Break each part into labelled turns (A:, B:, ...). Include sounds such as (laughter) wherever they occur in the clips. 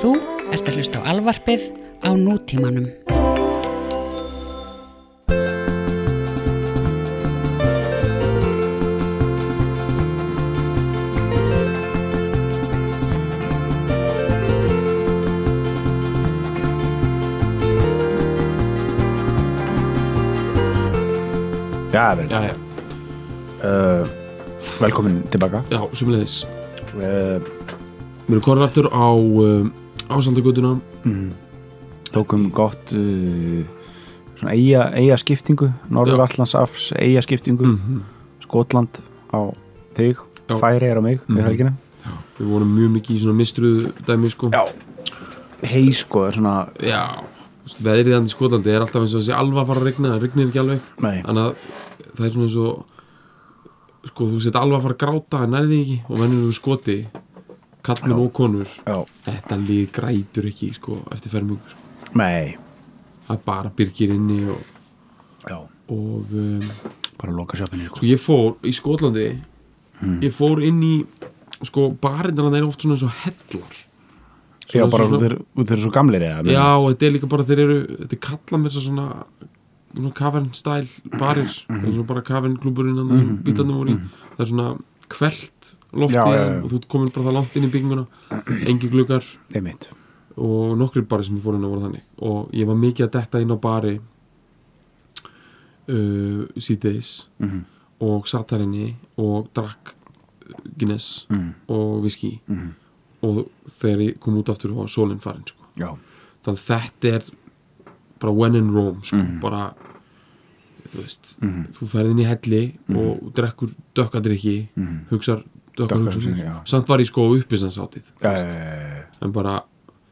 A: Þú ert að hlusta á alvarpið á nútímanum.
B: Já, vel,
C: Já, já,
B: uh, velkomin tilbaka
C: já, sumulegis
B: uh,
C: Mér erum konar aftur á uh, ásaldagutuna
B: Tókum gott uh, svona eiga, eiga skiptingu Norður Allandsafs eiga skiptingu Skotland á þig
C: Já.
B: Færi er á mig
C: Mhm.
B: við helgina
C: Við vorum mjög mikið í svona mistruðu dæmi sko.
B: Já Hei sko er svona
C: já þú veist, Veðrið hann í Skotlandi er alltaf eins og þessi alva að fara að rigna Það rignir ekki alveg
B: Nei,
C: Þannig að það er svona eins og Sko þú sett alva að fara að gráta en nærði ekki Og mennir þú skoti Kallmenn og konur
B: já,
C: Þetta lið grætur ekki sko, eftir fermingu sko.
B: nei
C: Það er bara byrgir inni og,
B: Já,
C: og um,
B: bara loka sjöfinni sko
C: sko ég fór í Skotlandi
B: Mm.
C: ég fór inn í sko barindana þeir eru oft svona eins og hellar
B: Já, bara
C: svona-
B: út þeir, út þeir eru svo gamlir eða
C: já og þetta er líka bara þeir eru þetta er kalla mér svo svona svona cavern style barir
B: Mhm.
C: það er svona bara cavern klúburinn mm -hmm. bílarnir voru í það er svona kvelt loftið
B: Já, já, já.
C: og þú ert komin bara það langt inn í bygginguna engin gluggar
B: Einmitt
C: og nokkri bari sem ég fór inn á voru þannig og ég var mikið að detta inn á bari uh, síðdeis
B: Mhm.
C: og satt þar inni og drakk uh, Guinness
B: Mm.
C: og viski
B: Mhm.
C: og þegar ég kom út aftur var sólinn farin sko.
B: Já,
C: þannig að þetta er bara when in Rome sko. bara þú veist
B: Mhm.
C: þú ferð inn í helli og drekkur dökkadrykki
B: Mhm.
C: hugsar
B: Dökkar
C: dökkadrykki
B: hugsanir, já.
C: samt var ég sko uppisansátið
B: uh,
C: en bara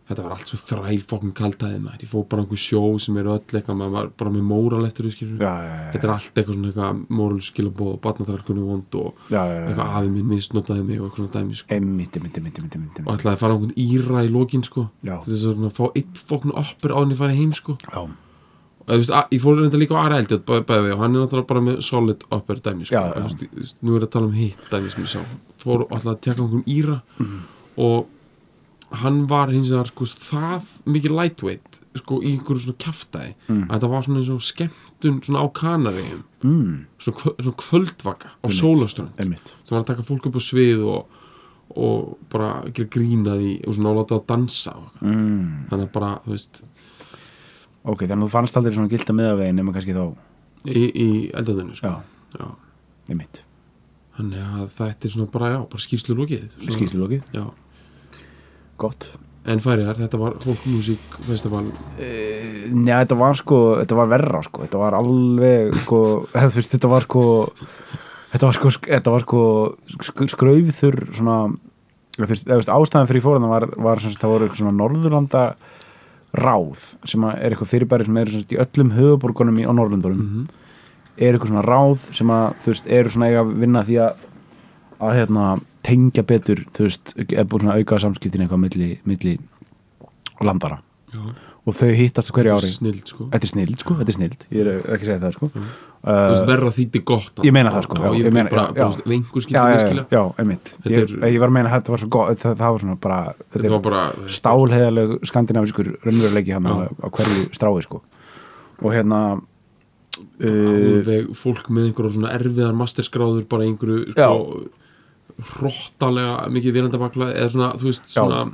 C: þetta var allt svo þræl fokkin kaldaði maður ég fór bara á einhver sjó sem eru öll eitthvað maður var bara með móral eftir því skilur
B: já, já,
C: þetta er allt eitthvað svona eitthvað moral skilabóð og barnaþrælkunni vond og
B: já, já, já.
C: eitthvað afi minn misnotaði mig og eitthvað svona dæmi sko.
B: Einmitt, einmitt, einmitt, einmitt, einmitt,
C: og
B: einmitt.
C: ætlaði að fara á einhvern íra í lokin sko.
B: Já.
C: til þess að svona fá eitt fokkin oppur á henni fara heim sko.
B: Já,
C: og þú veist, að- ég fór reynda líka á aðra eldjátt bæði og hann er náttúrulega bara með solid upper dæmi sko.
B: Já, já.
C: Og þú veist, þú veist, nú er að tala um hitt dæmi sem ég sá fór og ætlaði að tjekka á einhvern íra
B: Mhm.
C: og hann var hins vegar sko, það mikið lightweight sko, í einhverju svona kjaftaði að þetta var svona eins og skemmtun svona á kanariðum
B: mm,
C: svona, kvö- svona kvöldvaka á sólaströnd
B: einmitt
C: sem var að taka fólk upp á svið og, og bara gera grína því og svona áláta að dansa og, eitthvað.
B: mm.
C: þannig að bara, þú veist
B: Ok, þannig að þú fannst aldrei svona gilda miðavegin nema kannski þá,
C: í, í eldöðinu
B: já,
C: sko. Já.
B: einmitt
C: þannig að þetta er svona bara, já, bara skýrslu lókið
B: Skýrslu lókið,
C: já.
B: gott
C: en færiðar, þetta var fólkmusík festival
B: Njá, þetta var sko, þetta var verra sko Þetta var alveg, sko, (laughs) eða, þú veist, þetta var sko Þetta var sko, sk- þetta var sko sk skrauður svona eða, þú veist, eða, þú veist, ástæðan fyrir ég fór þarna var, var sem sagt, það voru eitthvað svona Norðurlanda ráð sem að er eitthvað fyrirbæri sem eru sem sagt, í öllum höfuborgunum í, á Norðurlundunum
C: mm -hmm.
B: er eitthvað svona ráð sem að þú veist, eru svona eiga að vinna að því að að hérna tengja betur þú veist, er búin svona auka samskiptin eitthvað milli, milli landara
C: já,
B: og þau hittast á hverju ári
C: snild sko
B: Þetta er snild, sko, þetta er snild ég er ekki að segja það, sko
C: Mm. Þú veist,
B: uh,
C: verra þýtti gott
B: ég meina það, sko, já,
C: já,
B: ég
C: ég
B: meina-
C: meina, bara,
B: já,
C: bara,
B: já.
C: já.
B: Já,
C: einhver skilja
B: já, já,
C: miskilja
B: já, einmitt
C: Þetta
B: ég,
C: er-
B: ég var að meina að þetta var svo gott það, það var svona bara, þetta
C: þetta
B: er
C: var bara
B: stálheðalög skandinavískur raunveruleiki hann á,
C: Já.
B: á hverju strái, sko og hérna uh,
C: alveg fólk með einhverjum svona erfiðar masterskráður bara í einhverju
B: Já.
C: sko, hróttalega mikið vélendavakla eða svona, þú veist,
B: Já.
C: svona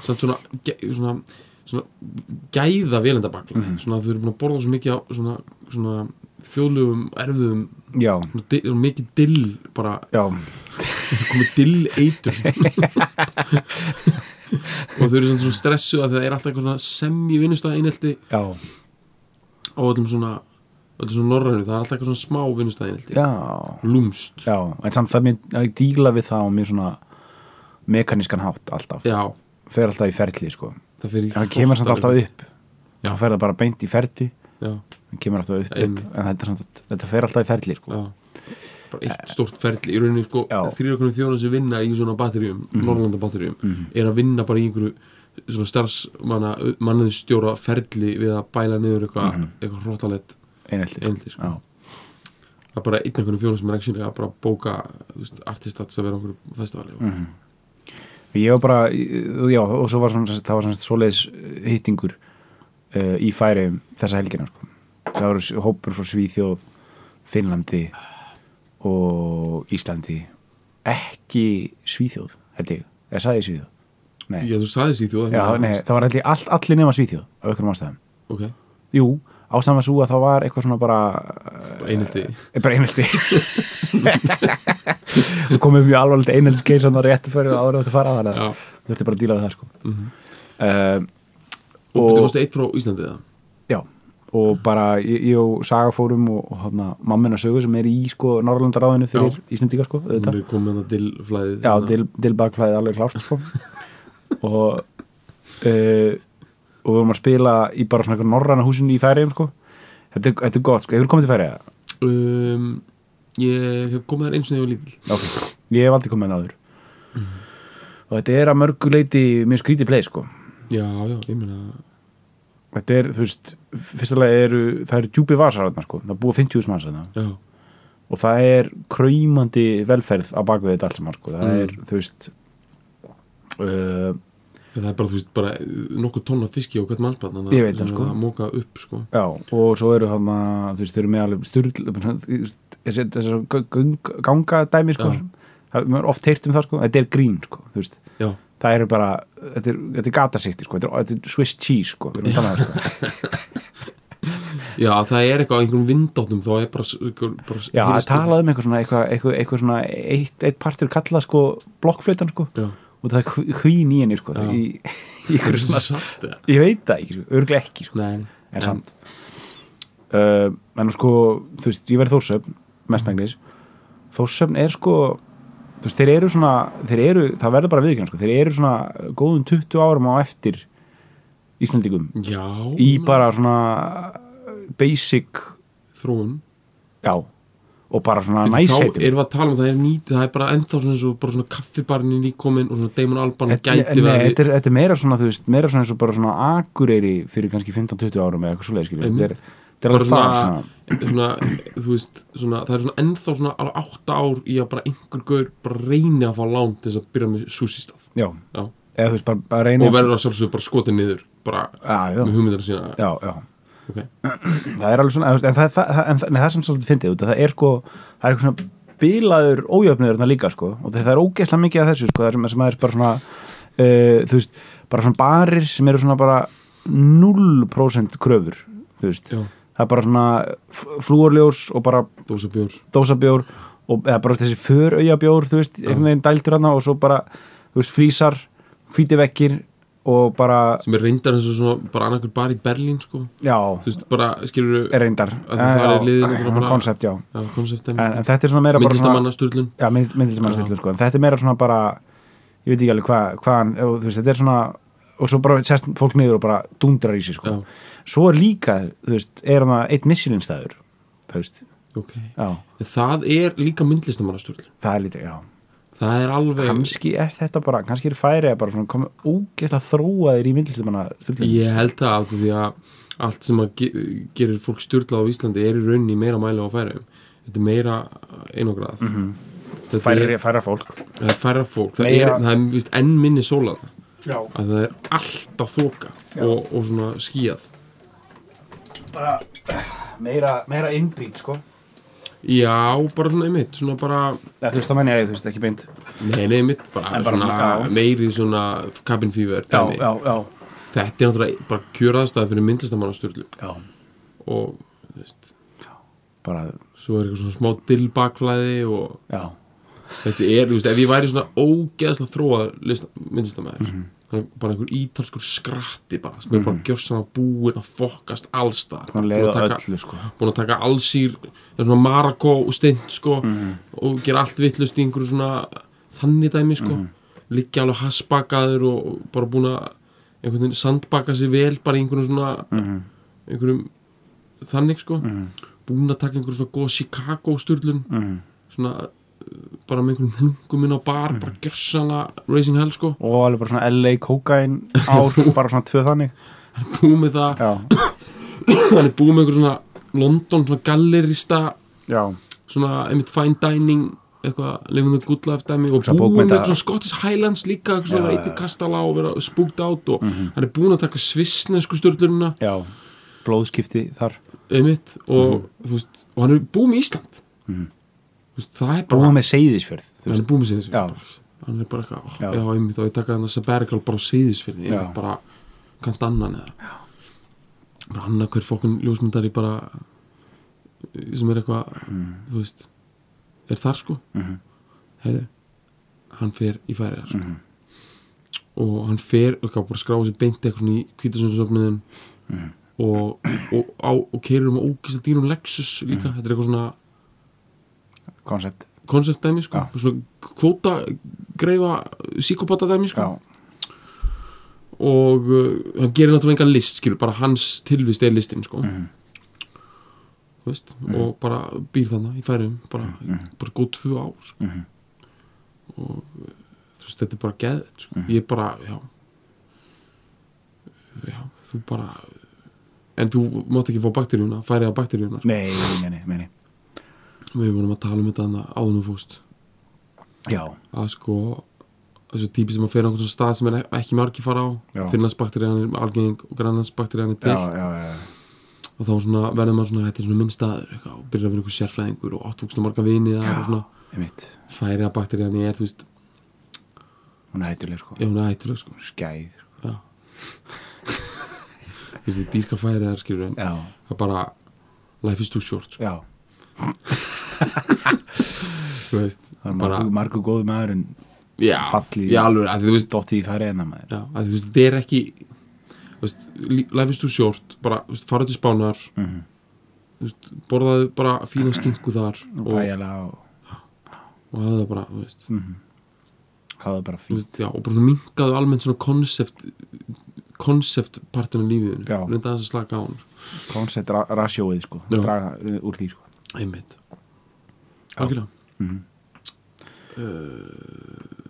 C: samt svona, gæ- svona, svona gæða vélendavakla
B: Mhm.
C: svona þau eru búin að borða svo mikið á svona, svona þjóðlegum, erfiðum
B: já,
C: svona, di- svona mikið dill bara,
B: já,
C: komið dill
B: (laughs)
C: eitur og þau eru svona, svona stressuð að það er alltaf eitthvað svona sem í vinnustæða einelti
B: já,
C: á öllum svona öllum svona norrænu, það er alltaf eitthvað svona smá vinnustæða einelti
B: já
C: lúmst
B: Já, en samt það mér að díla við það á mjög svona mekanískan hátt alltaf,
C: Já,
B: fer alltaf í ferli sko.
C: það fyrir
B: en það kemur samt alltaf upp
C: Já.
B: þá fer það bara beint í ferli
C: Já,
B: það kemur alltaf upp, upp.
C: Einmitt.
B: en þetta, er samt, þetta fer alltaf í ferli sko.
C: já Bara eitt stort ferli Í rauninni sko
B: Eh, Já. Mhm.
C: Þrýra konum fjóna sem vinna í svona batteríum Norrlanda batteríum Er að vinna bara í einhverju Svona starfsmanna Mannið stjóra ferli Við að bæla niður eitthvað mm -hmm. Eitthvað hróttalett
B: einhelti sko.
C: einli sko.
B: Mhm. Já,
C: Það er bara einn einhvern fjóna sem er ekki að bara bóka þú veist, Artistat sem vera á einhverju festivali og...
B: mhm. ég var bara, já, og svo var svona, sem sagt- það var svona svoleiðis eh, hittingur uh, í færiðum þessa helgina sko. það voru s- hópur frá Svíþjóð Finnlandi og Íslandi ekki Svíþjóð held ég, eða sagði ég Svíþjóð nei,
C: Já, þú sagði síðu
B: já, nei það var held ég allt, allir nema Svíþjóð af einhverjum ástæðum
C: Ok,
B: jú, ástæðan var svo að það var eitthvað svona bara
C: bara einhaldi
B: er bara einhaldi þú komið mjög alvarlegt einhaldskeisan á réttu fyrir áður áttu að fara að
C: Já,
B: það þú ertu bara að díla við það sko
C: mhm
B: um,
C: Og
B: Og-
C: betur fórstu eitt frá Íslandi eða?
B: já, og bara ég, ég og Saga fórum og, og hana, mammina sögu sem er í sko Norrlandaráðinu fyrir
C: Já.
B: Íslandíka sko
C: Hún
B: auðvitað.
C: er komið hann að dillflæðið
B: já, til, til bakflæði alveg klárt sko og uh, og við vorum að spila í bara svona einhver norræna húsinu í færiðum sko þetta, er- þetta er gott sko, hefur komið til færiða?
C: um, Ég hef komið þar eins og þegar ég var lítill
B: ok, ég hef aldrei komið með áður og þetta er að mörgu leiti mjög skrítið play sko
C: Já, já, ég meina
B: þetta er, þú veist, fyrstulega eru það eru djúpi vasar þarna sko, það búa 50.000 manns þarna
C: Já,
B: og það er kræmandi velferð á bakvið þetta allt saman sko. það
C: Mm.
B: er, þú veist uh,
C: það er bara, þú veist, bara nokkuð tonna fiski á hvert mannsbarn þannig að-
B: Ég veit það,
C: sem
B: sko.
C: er að móka upp, sko
B: já, og svo eru þarna þú veist, þau eru með alveg styrl þessar ganga dæmi sko.
C: Já.
B: það maður er oft heyrt um það sko. þetta er grín, sko, þú veist
C: Já,
B: það eru bara, þetta er, þetta er gatasikti sko. þetta, er, þetta er Swiss cheese sko. við erum að tala um það, sko.
C: já það er eitthvað á einhverjum vindáttum þá er bara, einhver- bara
B: já, að
C: heyrist-
B: tala um eitthvað svona, eitthvað, eitthvað, eitthvað svona eitt, eitt partur kallað sko, blokkflöytan sko.
C: Já,
B: og það er hvín í henni sko,
C: Já.
B: í, í,
C: það
B: í,
C: er svo satt eða?
B: ég veit það ekki, sko, örglega ekki sko.
C: Nei, nei.
B: en samt uh, en sko, þú veist, ég verið þórsöfn mestmengnis þórsöfn er sko þú veist, þeir eru svona þeir eru, það verður bara viðkjörn sko, þeir eru svona góðum 20 árum á eftir Íslandingum
C: Já,
B: í
C: ég meina,
B: bara svona basic,
C: þróun
B: já og bara svona
C: þá
B: næsætum
C: erum við að tala um það er nýtt það er bara ennþá svona, svo, bara svona kaffibarnin nýkomin og svona Damon Alban
B: Þetta
C: gæti
B: nei,
C: verið
B: þetta er, þetta er meira svona, þú veist, meira svona eins og bara svona akureyri fyrir kannski 15-20 árum eða eitthvað svoleiðis, skiljum, þetta
C: Einmitt.
B: er, þetta er alveg
C: Bara
B: það svona,
C: svona- svona, þú veist, svona, það er svona ennþá svona alveg átta ár í að bara einhver gaur bara reyni að fá lán til þess að byrja með sushi-stað
B: já,
C: Já.
B: eða þú veist, bara, bara reyna
C: og Mhm. verður að sjálfsögðu bara skotið niður bara
B: að, já,
C: með hugmyndina sína
B: já, já
C: ok,
B: það er alveg svona en það, það, það, en það, nei, það sem svolítið fyndið út að það er sko, það er eitthvað svona bílaður ójöfniður þarna líka sko og það er ógeðslega mikið af þessu sko það er sem, sem er bara svona uh, þú veist, bara svona barir sem eru svona bara 0% kröfur þú veist,
C: já,
B: það er bara svona f- flúorljós og bara
C: dósa bjór
B: dósabjór og eða bara þessi föraujabjór, þú veist, einhvern veginn dæltur hana og svo bara, þú veist, flísar hvíti vekkir og bara
C: sem er reyndar eins og svona bara annarkur bar í Berlín sko,
B: já,
C: þú veist, bara skilur
B: er reyndar
C: Að það er liðið náttúrulega bara-
B: koncept, já
C: já, konceptin,
B: en, en þetta er svona meira bara svona
C: myndlistamanna stúrlun
B: já, myndlistamannstillu sko, en þetta er meira svona bara ég veit ekki alveg hvað hvaðan, og þú veist, þetta er svona og svo bara sest fólk niður og bara dundrar í sig sko,
C: já,
B: svo er líka þú veist, er hann eitt missilinstæður þú veist,
C: ok,
B: já,
C: en það er líka myndlistamanna stúrlun
B: það er lítið, já
C: það er alveg
B: kannski er þetta bara, kannski er færið bara svona komið ógeðslega þróaðir í myndlistamannastillu
C: Ég held það af því að allt sem að ge gerir fólk styrla á Íslandi er í rauninni í meira mæli á færiðum þetta er meira einograð mm
B: Mhm.
C: -hmm. þetta er,
B: færið, færið fólk
C: það er færra fólk það er,
B: Meira-
C: það er víst, enn minni sólar
B: já,
C: að það er alltaf þoka og, og svona skíað
B: bara meira, meira innbrýt sko,
C: já, bara svona einmitt svona bara,
B: Eða, þú veist, það menn ég, þú veist, ekki beint
C: nei, nei, einmitt bara,
B: En bara
C: svona,
B: svona, já.
C: meiri svona cabin fever
B: já,
C: dæmi.
B: já, já,
C: þetta er náttúrulega bara kjöraðstæði fyrir myndlistamann á styrlu
B: já.
C: og þú veist,
B: bara,
C: svo er eitthvað svona smá dill bakflæði og
B: já
C: Þetta er, þú veist, ef ég væri svona ógeðslega þróað myndlistamæður mm -hmm. bara einhver ítalskur skratti bara, sem er bara gjössan að búin að fokkast allstar,
B: Búin að leiða öllu, sko.
C: búin að taka allsýr það er svona Marako og steint sko,
B: Mhm.
C: og gera allt vittlust í einhverju svona þannig dæmi sko
B: Mhm.
C: liggja alveg hasbakaður og og bara búin að einhvern veginn sandbaka sér vel bara í einhverjum svona
B: Mhm.
C: einhverjum þannig sko búin að taka einhverjum svona góð Chicago sturlun
B: Mhm.
C: svona uh, bara með einhverjum hlungum inn á bar bara
B: Mhm.
C: gjörsana Racing Hell sko
B: og alveg bara svona LA kokain ár, (laughs) bara svona tvö þannig
C: búið með það,
B: já,
C: hann er búið með einhver svona London svona gallerista
B: já,
C: svona einmitt fine dining eitthvað lifin the good life dæmi og
B: Hugsa
C: búin
B: bókmynda-
C: með eitthvað Scottish Highlands líka eitthvað svona
B: Já, Mhm.
C: einni kastala og vera spúkt át og hann er búin að taka svissnesku stjórnlunina
B: já, blóðskipti þar
C: einmitt og,
B: Mhm.
C: þú veist, og hann er búið með Ísland Þú veist, það er bara
B: búið með seyðisfjörð þú
C: hann er
B: veist.
C: búið með síðis
B: Já.
C: hann er bara eitthvað,
B: Já.
C: já, já einmitt og ég taka hann að sabbatical bara á síðis fyrir því
B: Já.
C: bara kant annan eða já. bara annað hver fokkun ljósmyndari bara eh, sem er eitthvað þú veist, er þar sko
B: Mm. Mhm.
C: herri hann fer í færiðar sko. og hann fer og bara skráði sér beint eitthvað svona í kvítasunnsöfniðin
B: Mhm.
C: og, og, og, og keirur um að ógista dýrum Lexus
B: Mhm.
C: líka, þetta er eitthvað svona
B: koncept
C: konceptdæmi sko,
B: Já.
C: svona kvóta greifa psíkopatadæmi sko
B: já,
C: og uh, hann gerir náttúrulega engan list skilur, bara hans tilvist er listin sko
B: Mhm.
C: þú veist og bara býr þannig í færum bara, bara góð tvö ár sko
B: Mhm.
C: og uh, þú veist, þetta er bara geð sko.
B: Mhm.
C: ég er bara, já já, þú bara en þú mátt ekki fá bakteríuna færið að bakteríuna sko.
B: nei, nei, nei, nei, nei.
C: við vorum að tala um þetta þarna áður nú fóst
B: já,
C: að sko þessu típi sem að fyrir einhvern svona stað sem er ekki margi fara á
B: Já.
C: Finnlandsbakterían er algeng og Grænlandsbakterían er til
B: já, já, já, já.
C: og þá svona verður maður svona þetta er svona minn staður eitthvað, og byrjar að vera einhver sérfræðingur og áttúksna marga vini þar og svona
B: einmitt,
C: færi að bakterían er þú veist
B: hún er hættuleg sko
C: ef hún er ættileg sko
B: skæð, sko. (laughs)
C: já þessi dýrka færi þar skilur en
B: já,
C: það er bara life is too short sko,
B: já
C: þú veist
B: það er
C: bara
B: margur, margur góð maður en
C: já,
B: fallið-
C: já alveg að þú veist
B: dottið í færi enna maður
C: Já, að þú veist, þetta er ekki þú veist, lí- life is too short bara, þú veist, fara til spánar
B: Mhm.
C: þú veist, borðaðu bara fína skinku þar
B: og
C: og,
B: pæjala og
C: og hafðu það bara, þú veist,
B: Mhm. hafa það bara
C: þú
B: fínt
C: veist já, og bara svona minkaðu almennt svona concept concept partinu lífiðinu
B: Já.
C: reynda þess að slaka á hann sko.
B: koncept ra rasjóið sko,
C: Já.
B: draga uh, úr því sko
C: einmitt algjörlega
B: Mhm.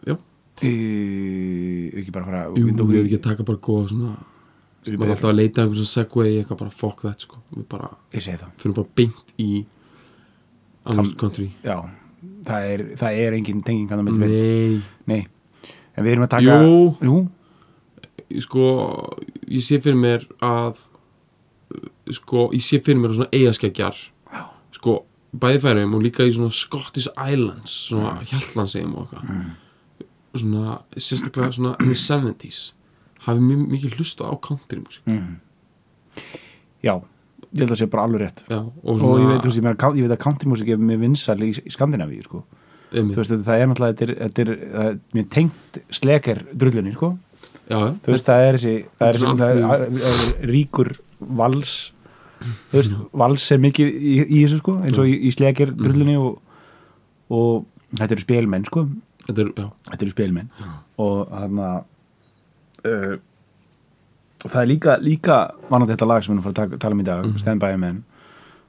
C: já,
B: Uh, ekki bara fara
C: jú, við erum ekki að taka bara góða svona,
B: Við
C: maður er alltaf að leita að einhver svona segway, í eitthvað bara fuck that sko, við bara,
B: ég segi það
C: fyrir bara beint í annars country
B: já, það er, það er engin tenging kannar með veit,
C: Nei,
B: nei en við erum að taka
C: Jú.
B: Jú?
C: sko ég sé fyrir mér að uh, sko, ég sé fyrir mér svona eigaskeggjar sko, bæði færum og líka í svona Scottish Islands
B: Mm.
C: svona Hjaltlandsegum og eitthvað svona, sérstaklega svona in the 70s hafi mjög mikið hlusta á country music
B: Mm. já, ég held að sé bara alveg rétt
C: já, og
B: og ég
C: svona
B: veit, um þú veist, ég, meina, count- ég veit að countrymusik er mjög vinsal í, í Skandinavíu sko. þú
C: einmitt.
B: veist, það er náttúrulega þetta er, þetta er, það er mjög tengt sleker drullunni sko.
C: já, já,
B: þú veist, það er þessi það er, þessi,
C: Þetta er
B: það
C: svona
B: er, það er ríkur vals þú veist, vals er mikið í, í þessu sko, eins og í, í sleker drullunni og, og þetta eru spilmenn sko.
C: þetta er, já,
B: þetta eru spilmenn og þarna uh, og það er líka líka vannandi þetta lag sem við erum að fara að taka- tala um í dag
C: Mhm.
B: mm. Stand By Men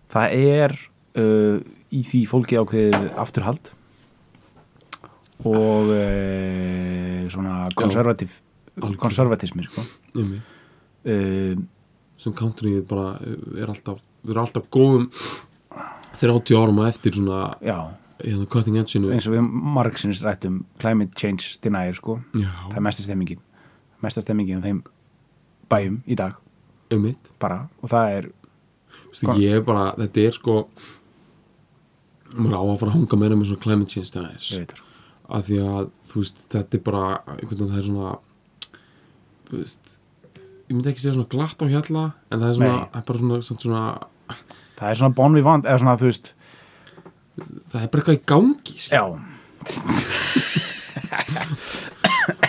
B: það er uh, í því fólki ákveðið afturhald og uh, svona konservativ
C: Algjörlega.
B: konservatismi sko.
C: einmitt
B: uh,
C: sem country er bara, er alltaf við erum alltaf góðum 30 árum að eftir svona
B: já,
C: hérna, cutting edge-inu
B: eins og við margsinist rættum climate change denier sko.
C: já,
B: það er mesta stemmingin mesta stemmingin um þeim bæjum í dag
C: einmitt
B: bara og það er
C: Vistu,
B: Hvað?
C: Sko, ég er bara, þetta er sko maður á að fara að hanga meira með svona climate change dæmis
B: ég veit það sko
C: af því að, þú veist, þetta er bara einhvern veginn það er svona þú veist, ég myndi ekki segja svona glatt á hjalla, en það er svona,
B: Nei.
C: það er bara svona, svona, svona
B: það er svona bon við vant eða svona þú veist
C: það er bara eitthvað í gangi skil.
B: já,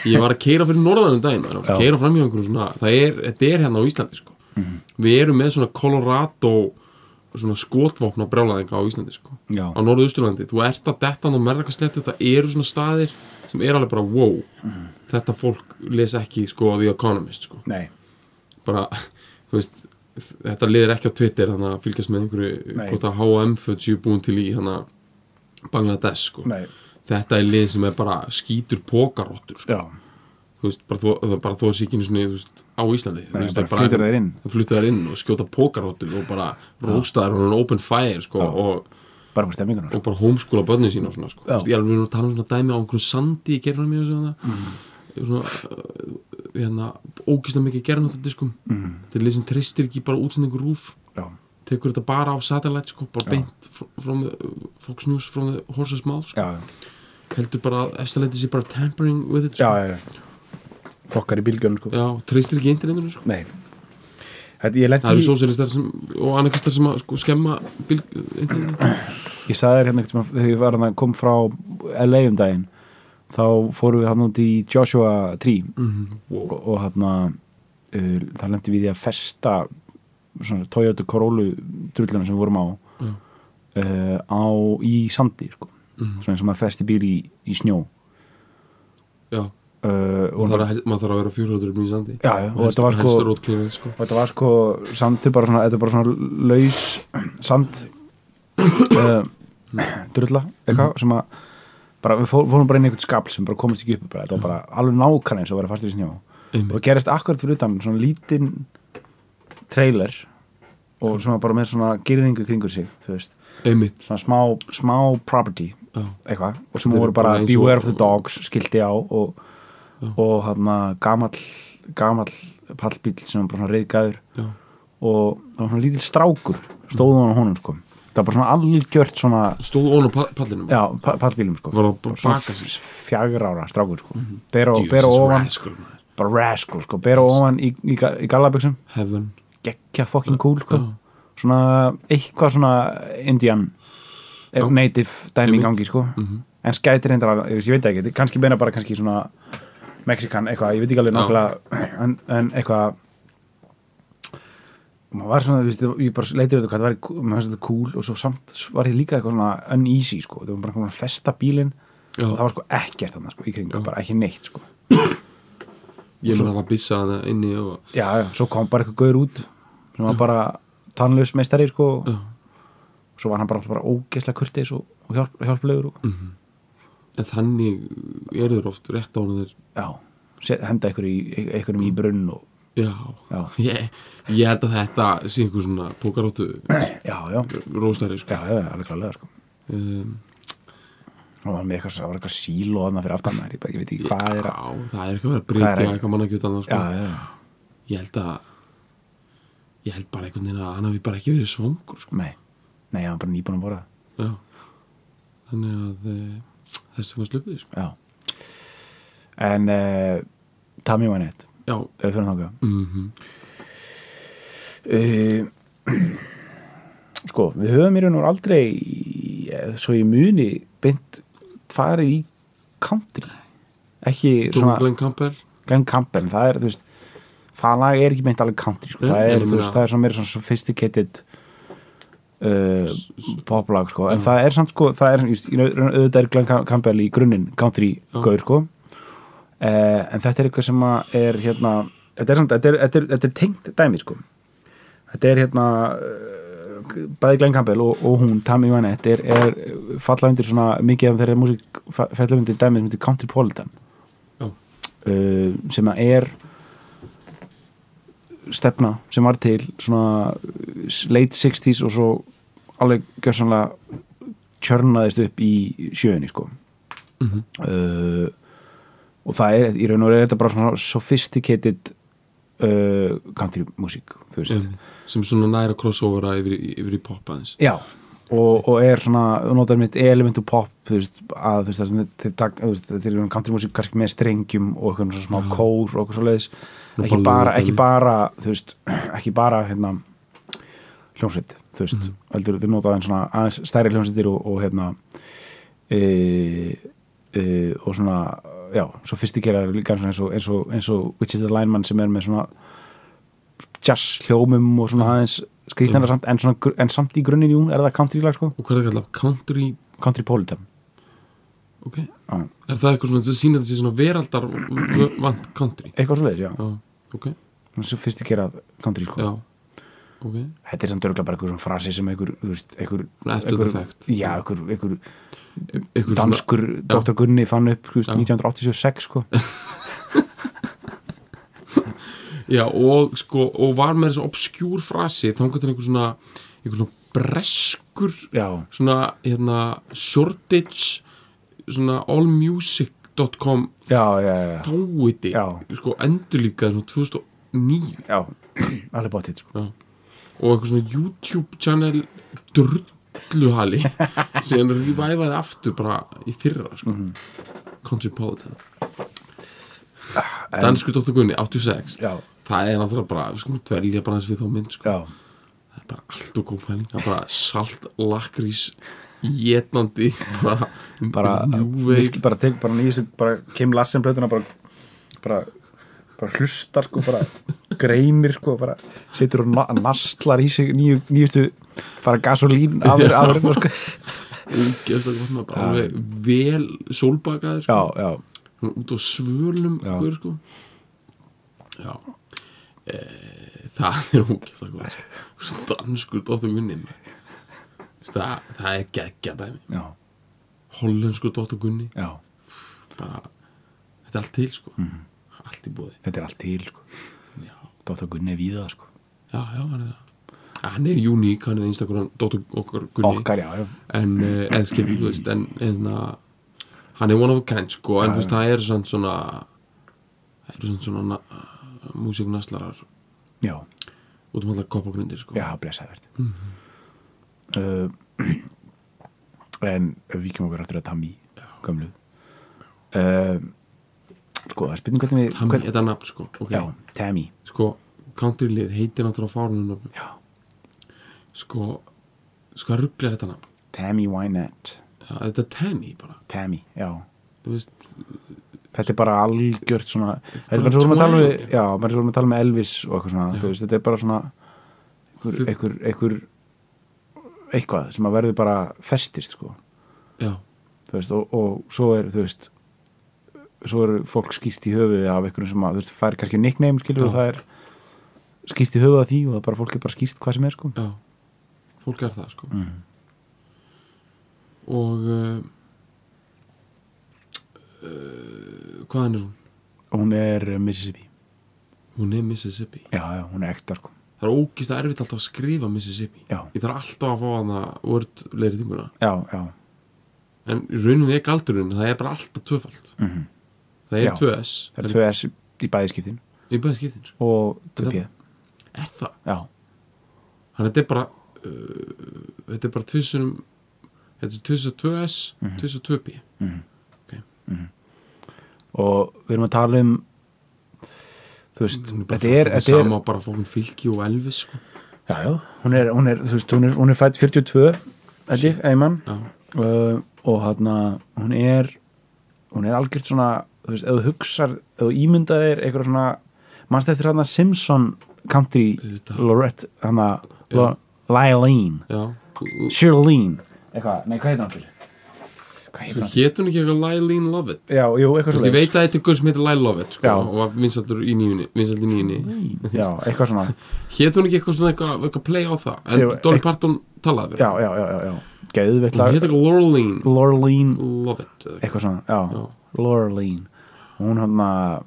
C: ég var að keira fyrir norðanum daginn ég var
B: Já.
C: að keira fram hjá einhverju svona það er, þetta er hérna á Íslandi sko.
B: Mhm.
C: við erum með svona Colorado svona skotvopna brjálæðinga á Íslandi sko.
B: Já.
C: á Norðausturlandi, þú ert að detta á merkaslettu, það eru svona staðir sem er alveg bara wow
B: Mhm.
C: þetta fólk les ekki sko á The Economist sko.
B: nei,
C: bara, (laughs) þú veist þetta liðir ekki á Twitter þannig að fylgjast með einhverju
B: Nei.
C: hvort að H&M föt séu búin til í þannig Bangladesh sko.
B: nei
C: þetta er lið sem er bara skítur pókarottur sko
B: já,
C: þú veist, bara þó, það er bara þó að síkinu sinni, þú veist, á Íslandi Nei, veist,
B: bara
C: það er
B: flytur þær inn.
C: það flytur þær inn og skjóta pókaróttum og bara róstaðar og open fire sko, og
B: bara bara stemmingunar
C: og bara homeskóla börnin sína og svona sko.
B: Já.
C: Þú veist, ég alveg erum að tala um svona dæmi á einhverjum sandi í gerðunum mjög svona,
B: Mhm.
C: svona uh, hérna, ógislega mikið gerðunatadiskum
B: Mhm.
C: mm. þetta er lið sem treystir ekki bara útsendingu rúf
B: já,
C: tekur þetta bara á satellite sko, bara beint fr- from the, uh, Fox News from the horse's mouth sko.
B: já, já,
C: heldur bara að efstaleiti sé bara tampering with it
B: já,
C: sko.
B: já, já. fokkar í bílgjörn sko.
C: já treystir ekki internetinu sko.
B: nei Þetta, ég,
C: það
B: lenti
C: eru
B: í,
C: sósíalistar sem, og anarkistar sem að, sko, skemma bíl, internetinu
B: ég saði þér hérna einhvern tímann þegar ég var að kom frá LA um daginn þá fórum við hann út í Joshua Tree og, og hann uh, það lendi við í að festa svona Toyota Corolla drullina sem við vorum á
C: Já.
B: uh, á í sandi sko. svona eins og maður festi bíl í, í snjó
C: já,
B: uh, og,
C: maður þarf að, maður þarf að vera 400 mjög sandi
B: Já, já, og þetta var sko-
C: helst rótklifið sko.
B: og þetta var sko sandur bara svona, þetta er bara svona laus sand uh, drulla eitthvað sem að bara, við fó- fórum bara inn í einhvern skabl sem bara komist ekki upp bara, þetta var bara alveg nákvæmlega eins og að vera fastur í snjó og
C: Einmitt.
B: það gerist akkurat fyrir utan svona lítinn trailer og sem var bara með svona gyrðingu kringur sig þú veist,
C: einmitt
B: svona smá, smá property
C: já,
B: eitthvað og sem
C: Þeir eru
B: voru bara
C: bara eins og-
B: beware of the dogs skildi á og, og hann gamall gamall pallbíl sem var bara svona reyðgæður
C: já,
B: og það var svona lítill strákur stóðum á honum sko það var bara svona algjört svona
C: stóðu ón á pa- pallinum
B: já, pa- pallbílum sko
C: Var það bara
B: Svona
C: baka Mhm. sig?
B: fjagra ára strákur sko bera,
C: Djöfisins
B: bera ofan,
C: rascal, maður.
B: bara rascal sko bera ofan í, í, ga- í gallabuxum
C: heaven
B: geggja fucking cool sko
C: Já.
B: svona eitthvað svona indian eh,
C: Já.
B: native dæmi í
C: Einmitt. Mhm.
B: gangi sko en skætir reyndar alveg, ég veit það ekki kannski meina bara kannski svona Mexikan eitthvað, ég veit ekki alveg
C: Já.
B: nákvæmlega en, en eitthvað maður var svona, þú veist, ég bara leiti við þetta hvað það væri, kú- maður finnst þetta cool og svo samt var ég líka eitthvað svona uneasy sko, það var bara komin að festa bílinn
C: já,
B: og það var sko ekkert þannig sko, í kring,
C: Já.
B: bara ekki neitt sko
C: ég meina það var byssa hana inni og
B: já, já, svo kom bara eitthvað gaur út sem var bara tannlaus meistari sko,
C: Já.
B: svo var hann bara, bara ógeðslega kurtis og, og hjálp, hjálplegur og,
C: Mm. en þannig eru þeir oft rétt á hana þeir
B: já, set- henda ykkur í, ykkur í brunn og,
C: já,
B: Já.
C: Ég, ég held að þetta sé einhver svona pókaróttu
B: (clears throat) já, já,
C: róstari
B: já,
C: sko.
B: já, já, alveg klálega sko
C: um,
B: og var með eitthvað, það var eitthvað síl og þarna fyrir aftan maður, ég, bara- ég veit ekki hvað er að
C: já, það er eitthvað að vera
B: Hvað er
C: breyti
B: að-
C: eitthvað manna ekki utan það
B: já,
C: sko.
B: já,
C: ég held að ég held bara einhvern veginn að hann hafi bara ekki verið svangur sko.
B: nei nei, ég var bara nýbúin að borða
C: já. þannig að e, þess að hann slupið sko.
B: já en uh, Tami var neitt,
C: já,
B: ef við fyrir þangað
C: mhm
B: uh, (clears throat) sko, við höfum í raun og veru aldrei eh, svo ég muni beint farið í country ekki
C: Tom
B: svona
C: Glenn Campbell
B: Glenn Campbell, en það er, þú veist það lag er ekki beint alveg country sko.
C: Nei,
B: það,
C: ég
B: er, þú
C: meina-
B: veist, það er svona meira svona sophisticated uh, poplag sko. en það er samt sko það er, just, í raun- auðvitað er Glenn Cam- Campbell í grunninn country
C: Já.
B: gaur sko. uh, en þetta er eitthvað sem að er hérna þetta er, samt, þetta er, þetta er, þetta er tengt dæmi sko. þetta er hérna uh, bæði Glenn Campbell og, og hún Tammy Vanette er, er falla undir svona mikið af þeirra músík falla undir dæmi sem heitir Countrypolitan
C: já,
B: uh, sem að er stefna sem var til svona uh, late 60s og svo alveg gjörsanlega tjörnaðist upp í sjöunni sko
C: Mhm.
B: uh, og það er í raun og veru er þetta bara svona sophisticated uh, country music þú veist
C: einmitt. sem svona næra crossovera yfir, í- yfir í pop aðeins
B: Já, og, og er svona notar mitt elementu pop þú veist, að þú veist, það sem þeir- þeir tak- þú veist, þeir eru countrymúsík kannski með strengjum og eitthvað svona smá kór og eitthvað svoleiðis
C: Nú
B: ekki
C: bara
B: bara,
C: lögum.
B: ekki bara, þú veist (clears throat) ekki bara, hérna hljómsveit, þú veist,
C: Mhm.
B: heldur þeir nota aðeins svona aðeins stærri hljómsveitir og, og hérna e, e, og svona, já, sofistikeraður líka svona eins og, eins og, eins og Wichita Lineman sem er með svona jazz hljómum og svona aðeins skrýtnara
C: Mhm.
B: samt, en, svona, gr- en samt í grunninn jú, er það country lag sko,
C: og hvað er það kallað, country
B: country politan
C: ok,
B: Já.
C: er það eitthvað svona sem sýnir þessi svona veraldar vant country
B: eitthvað svoleiðis, já,
C: já, ok,
B: svona sofistikerað country sko,
C: já ok,
B: þetta er samt örgulega bara einhver svona frasi sem einhver, þú veist, einhver
C: Svona eftir
B: einhver-
C: þetta þekkt.
B: já, einhver, einhver
C: eitthvað
B: danskur Dr. Gunni fann upp, þú veist,
C: Já.
B: 1986
C: (laughs)
B: sko,
C: já, og sko, og var með þessu obskjúr frasi þangar til einhver svona einhver svona breskur
B: já,
C: svona hérna shortage svona allmusic.com
B: já, já, já,
C: þáiti
B: já,
C: sko endurlíkaði svona 2009
B: já (clears throat) alveg bóttið, sko,
C: og eitthvað svona YouTube channel
B: (laughs)
C: drulluhali sem revivaði aftur bara í fyrra sko.
B: Mhm.
C: mm Cosmopolitan
B: Ah, En-
C: Dansku Dóttur Gunni 86
B: já,
C: það er náttúrulega bara, við skulum dvelja bara eins við þá mynd sko.
B: já
C: það er bara allt og góð pæling það er bara salt, lakrís jétnandi bara,
B: bara,
C: New Wave.
B: virki- bara tek bara nýjast, bara Kim Lassen plötuna bara, bara, bara hlustar sko, bara greinir sko, bara setur og na- nastlar í sig nýju, nýjustu, bara
C: (laughs)
B: gasolín afur,
C: Já.
B: afur, sko.
C: ógeðslega gott maður bara alveg vel sólbakaður sko.
B: já, já,
C: Svona út á svölum
B: Já.
C: guður, sko. já e, það er ógeðslega gott sko. danskur dóttur Gunni maður. Veist það, það er geggja dæmi
B: já,
C: hollenskur dóttur Gunni
B: já
C: bara, þetta er allt til sko.
B: Mhm.
C: allt í bóði
B: þetta er allt til, sko
C: já,
B: Dóttar Gunni er víða, sko
C: já, já hann er það Ah, hann er uník, hann er einstakur dóttur okkar Gunni
B: okkar, já, já,
C: en eh, eða skilur, þú veist en, en hann er one of a kind sko, en þú veist, það er samt svona það eru samt svona músiknaslarar
B: já,
C: út um allar koppagrundir sko
B: já, blessaðvert uh, en ef við kemum okkur aftur að Tammy gömlu uh, sko, það er spurning hvernig við
C: Tammy,
B: hvern-
C: þetta er nafn sko, ok
B: já, Tammy
C: sko, countrylið heitir náttúrulega fárunum nafn
B: Já.
C: sko, sko að ruggla þetta nafn
B: Tammy Wynette
C: Já, þetta er Tammy bara,
B: Tammy, já
C: þú veist
B: Þetta er bara algjört svona Þetta er
C: Bara
B: bara svo vorum að tala með
C: twang.
B: Já, bara svo vorum að tala með Elvis og eitthvað svona
C: Já.
B: þú veist, Þetta er bara svona einhver,
C: Þú-
B: einhver, einhver eitthvað sem að verður bara festist sko.
C: já,
B: Þú veist, og, og svo er þú veist, svo eru fólk skýrt í höfuðið af einhverjum sem að þú veist, fær kannski nickname skilur
C: Já.
B: og það er skýrt í höfuðið af því og það er bara fólk er bara skýrt hvað sem er sko.
C: já fólk er það sko
B: Mhm.
C: og uh, uh, hvaðan er hún?
B: og hún er Mississippi
C: hún er Mississippi
B: Já, já, hún er ekta sko.
C: það er ógist að erfitt alltaf að skrifa Mississippi
B: Já,
C: ég þarf alltaf að fá hana word leiri tímuna
B: já, já
C: en í rauninni er galdurinn, það er bara alltaf tvöfald
B: mm
C: það er
B: Já.
C: 2S
B: Það er tvö S í bæðiskiptin
C: í bæði skiptin sko.
B: og tvö
C: Þetta-
B: P
C: er það,
B: Já,
C: hann þetta er bara uh, þetta er bara tvissunum þetta er tviss og 2S
B: Mhm.
C: tviss og 2B
B: og við erum að tala um þú veist,
C: Hún bara
B: þetta er,
C: fólkin
B: þetta er
C: sama bara fólkin fylki og Elvis sko.
B: já, já, hún er, hún er, þú veist, hún er, hún er fætt 42, þetta er einmann
C: já,
B: uh, og hann hún er hún er algjört svona, þú veist, ef þú hugsar ef þú ímyndaðir eitthvað svona mannst eftir hann Simpson country
C: Auðvitað.
B: Lorette, hann
C: Já.
B: að Lilene,
C: já
B: Shirlene eitthvað, nei, hvað heitir hann fyrir? hvað heitir hann?
C: hétt hún ekki eitthvað Lilene Lovett
B: Já, jú, eitthvað
C: Þú
B: svo
C: veist, ég veit að þetta er gaur sem heitir Lyle Lovett sko,
B: Já.
C: og var vinsaldur í nýjunni, vinsald í nýjunni.
B: Já, eitthvað svona
C: Hétt hún ekki eitthvað svona eitthvað, eitthvað play á það en
B: Jú,
C: Dolly
B: ekk-
C: Parton talaði fyrir
B: Já, já, já, já, já. Geðveitt
C: hún hétt
B: lag.
C: eitthvað Laureline
B: Lorleen
C: Lovett eða eitthvað.
B: eitthvað svona, já,
C: Já.
B: Lorleen hún hann að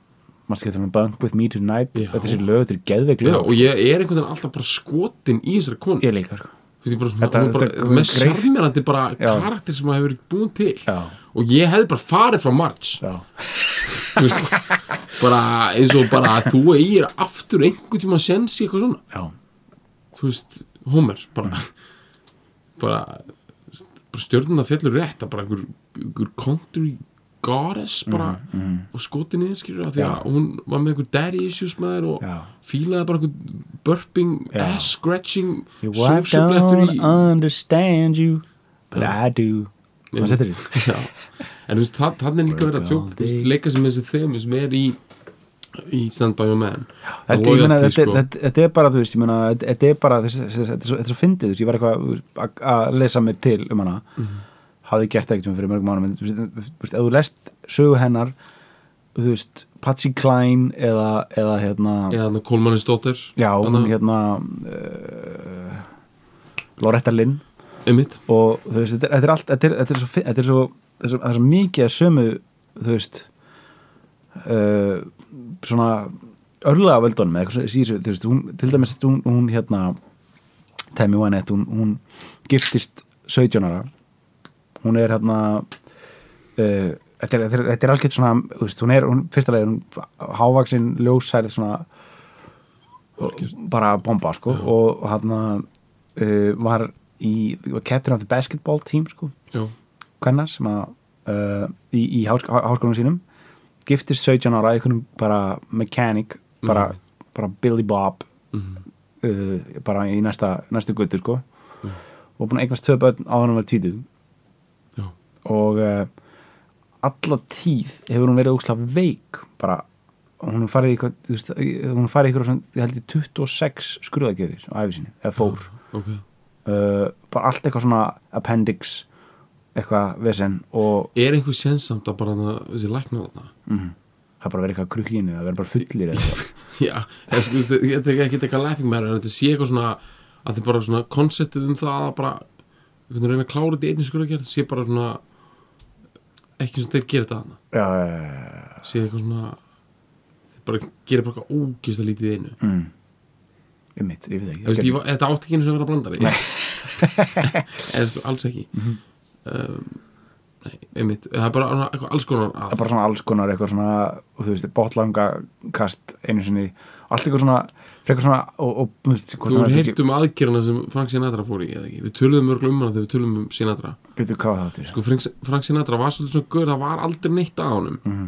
B: maður skilja þannig Bunk With Me Tonight
C: Já.
B: þetta er sér lög, þetta er geðveik
C: Já,
B: lög
C: og ég er einhvern veginn alltaf bara skotin í þessari konu
B: ég líka, sko
C: Þú veist, ég bara,
B: Þetta-
C: þetta, hún er bara,
B: þetta er
C: þetta, mest
B: greift.
C: sjarmerandi bara
B: Já.
C: karakter sem maður hefur búin til
B: já,
C: og ég hefði bara farið frá March
B: já,
C: þú veist,
B: (laughs)
C: bara eins og bara að þú eigir aftur einhvern tíma að sensi eitthvað svona
B: já,
C: þú veist, Homer bara bara, bara stjórnuna fellur rétt að bara einhver, einhver country goddess bara og skoti niður skilur af því
B: Mhm, Já.
C: að hún var með einhver daddy issues með þér og
B: já
C: fílaði bara einhver burping,
B: Já.
C: ass scratching
B: You I
C: sósublettur
B: don't
C: í
B: understand you but I do
C: Já.
B: maður setur því
C: Já. en þú veist, það, þannig er líka
B: Work
C: verið að
B: all
C: tjók, þú veist,
B: day.
C: leika sem þessi þemi sem er í í Stand By Your Man
B: Þetta, ég meina, þetta,
C: sko.
B: þetta, þetta er bara, þú veist, ég meina, þetta, þetta er bara, þess, þess, þetta er svo, þetta er svo fyndið, þú veist, ég var eitthvað þú veist, að- að lesa mig til um hana,
C: Mhm.
B: hafði gert það eitthvað fyrir mörgum mánum, en þú veist, þú veist, ef þú lest sögu hennar, þú veist, Patsy Klein eða, eða hérna,
C: eða hann Kolmannis dóttir
B: já, hún
C: Þarna-
B: hérna, uh, Loretta Lynn
C: einmitt,
B: og þú veist, þetta er, þetta er allt, þetta er, þetta er svo, fi- þetta er svo, þetta er svo, það er svo mikið að sömu, þú veist, uh, svona örlega völdunum eða eitthvað svo- í þessu, þú veist, hún, til dæmis, hún, hún hérna, Tammy Wynette, hún, hún giftist 17 ára hún er hérna uh, þetta, er, þetta, er, þetta er algjört svona þú veist, hún er, hún, fyrsta leið, hún hávaksin ljósærið svona
C: Algjört.
B: bara bomba sko
C: Já.
B: og hérna uh, var í, var captain of the basketball team sko,
C: já,
B: hvenna sem að uh, í, í hásk háskólanum sínum giftist 17 ára einhvernum bara mechanic bara,
C: Mm.
B: bara Billy Bob
C: mhm,
B: uh, bara í næsta, næstu göttu sko
C: Já.
B: og búin að eignast tvö börn á hann var títið
C: já,
B: og uh, alla tíð hefur hún verið ósla veik bara, hún er farið í eitthvað, þú veist, hún er farið í eitthvað svona, ég held ég 26 skrúðagerir á æfi sinni, eða fór
C: ok
B: uh, bara allt eitthvað svona appendix eitthvað vesen og
C: er einhver sensamt að bara hana, þessi læknar þarna
B: mm, það er bara verið eitthvað krukkinu, það verið bara fullir eða eitthvað.
C: já, ég, sko, þetta er ekki eitthvað laughing matter en þetta sé eitthvað svona að þið bara svona konceptið um það að bara einhvern veginn reyna að klára þetta í einni skurðagerð sé bara svona ekki svona þeir gera þetta hana
B: (laughs) já, já,
C: sé eitthvað svona þeir bara gera bara eitthvað ógist að lítið í einu
B: já, já, mm. ég mitt, ég veit ekki
C: Ég veist, ég, var- þetta átti ekki einu sem að vera blandari (laughs) eða sko, alls ekki
B: Mhm.
C: um, nei, einmitt það er bara svona eitthvað alls konar
B: það
C: að
B: er bara svona alls konar eitthvað svona og þú veist, botlanga kast einu sinni, allt eitthvað svona frekar svona og, og þú veist, hvort
C: þú
B: hann
C: hefur
B: hafi
C: heyrt um aðgerðina sem Frank Sinatra fór í eða ekki, við töluðum örgla um hana þegar við töluðum um Sinatra
B: ekki- Bíddu, hvað var það aftur?
C: sko, Frank, Frank Sinatra var svolítið svona gaur, það var aldrei neitt að honum
B: Mhm.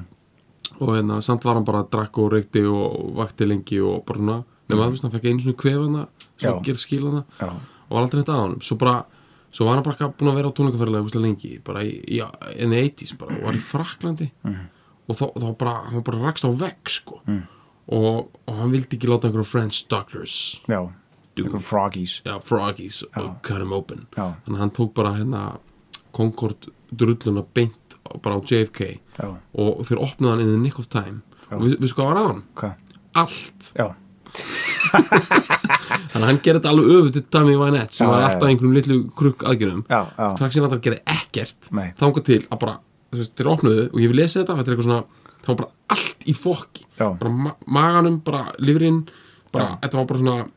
C: og hérna, samt var hann bara að drakk og reykti og vakti lengi og bara svona nema það, veist, hann fekk einu svona kvefana
B: Mhm. Já.
C: sem gerð skilana
B: Já,
C: og var aldrei neitt að honum svo bara, svo var hann bara búin að vera á tónleikaferðlega úslega lengi, bara í, í in the 80s bara, og var í Fraklandi og þá, þá bara, hann bara rakst á vegg sko,
B: Mhm.
C: og, og hann vildi ekki láta einhverjum French doctors
B: já,
C: Dude.
B: einhver froggies
C: já, froggies og cut him open
B: Já,
C: þannig að hann tók bara hérna Concord drulluna beint á- bara á JFK
B: já,
C: og þeir opnaði hann in the nick of time
B: Já.
C: og við, við sko var á hann,
B: hvað?
C: allt
B: Já,
C: þannig að hann gerði þetta alveg öfutt til Dami Vanette sem
B: Já,
C: var
B: já,
C: alltaf
B: já.
C: einhverjum litlu krukk aðgerðum
B: já, já,
C: Frank Sinatra gerði ekkert
B: Nei.
C: þangað til að bara, þú veist, þeir opnuðu og ég vil lesa þetta, þetta er eitthvað svona það var bara allt í fokki
B: já,
C: bara ma maganum, bara lifrin bara, þetta var bara svona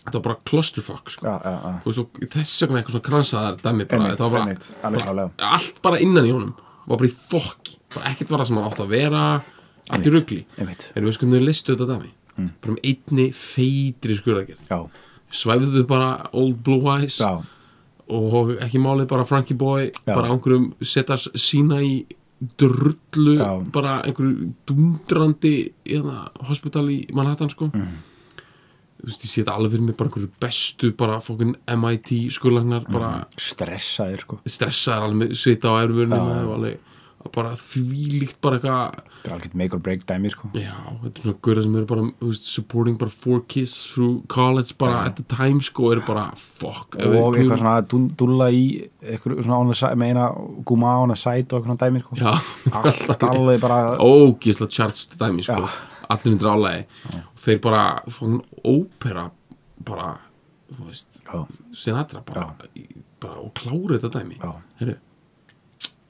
C: þetta var bara clusterfuck sko.
B: já, já, já
C: Þú veist, og þess vegna eitthvað svona kransaðar dæmi bara,
B: Einmitt,
C: þetta var bara
B: einmitt, alveg klálega
C: allt bara innan í honum var bara í fokki, bara ekkert var það sem hann átt að vera allt í rugli
B: Einmitt, Mm.
C: en við skoðum þau listu þetta dæmi bara um einni feitri skurðagerð
B: já,
C: svæfðu bara Old Blue Eyes
B: já,
C: og ekki málið bara Frankie Boy
B: Já.
C: bara á einhverjum setja sína í drullu
B: Já.
C: bara einhverju dundrandi hérna, hospital í Manhattan sko
B: Mhm.
C: þú veist, ég sé þetta alveg fyrir mig bara einhverju bestu bara fókin MIT skurðlagnar
B: Mhm.
C: bara
B: stressaðir sko
C: stressaðar alveg svita á
B: Já,
C: erfurinu
B: já.
C: og alveg og bara þvílíkt bara eitthvað
B: Þetta er algjörn make or break dæmi sko
C: já, þetta er svona gauðra sem eru bara þú veist, supporting bara four kids through college bara at the time sko eru bara fuck ef við
B: Og
C: klúðum-
B: eitthvað svona dú- dúlla í eitthvað svona on the side, meina guma on the side og eitthvað svona dæmi sko
C: já, (laughs)
B: Allt alveg bara
C: ógisla charts dæmi sko,
B: Já.
C: allir myndir álægi og þeir bara fórum ópera bara, þú veist
B: Já,
C: Sinatra bara, í- bara og klára þetta dæmi
B: já,
C: Heru,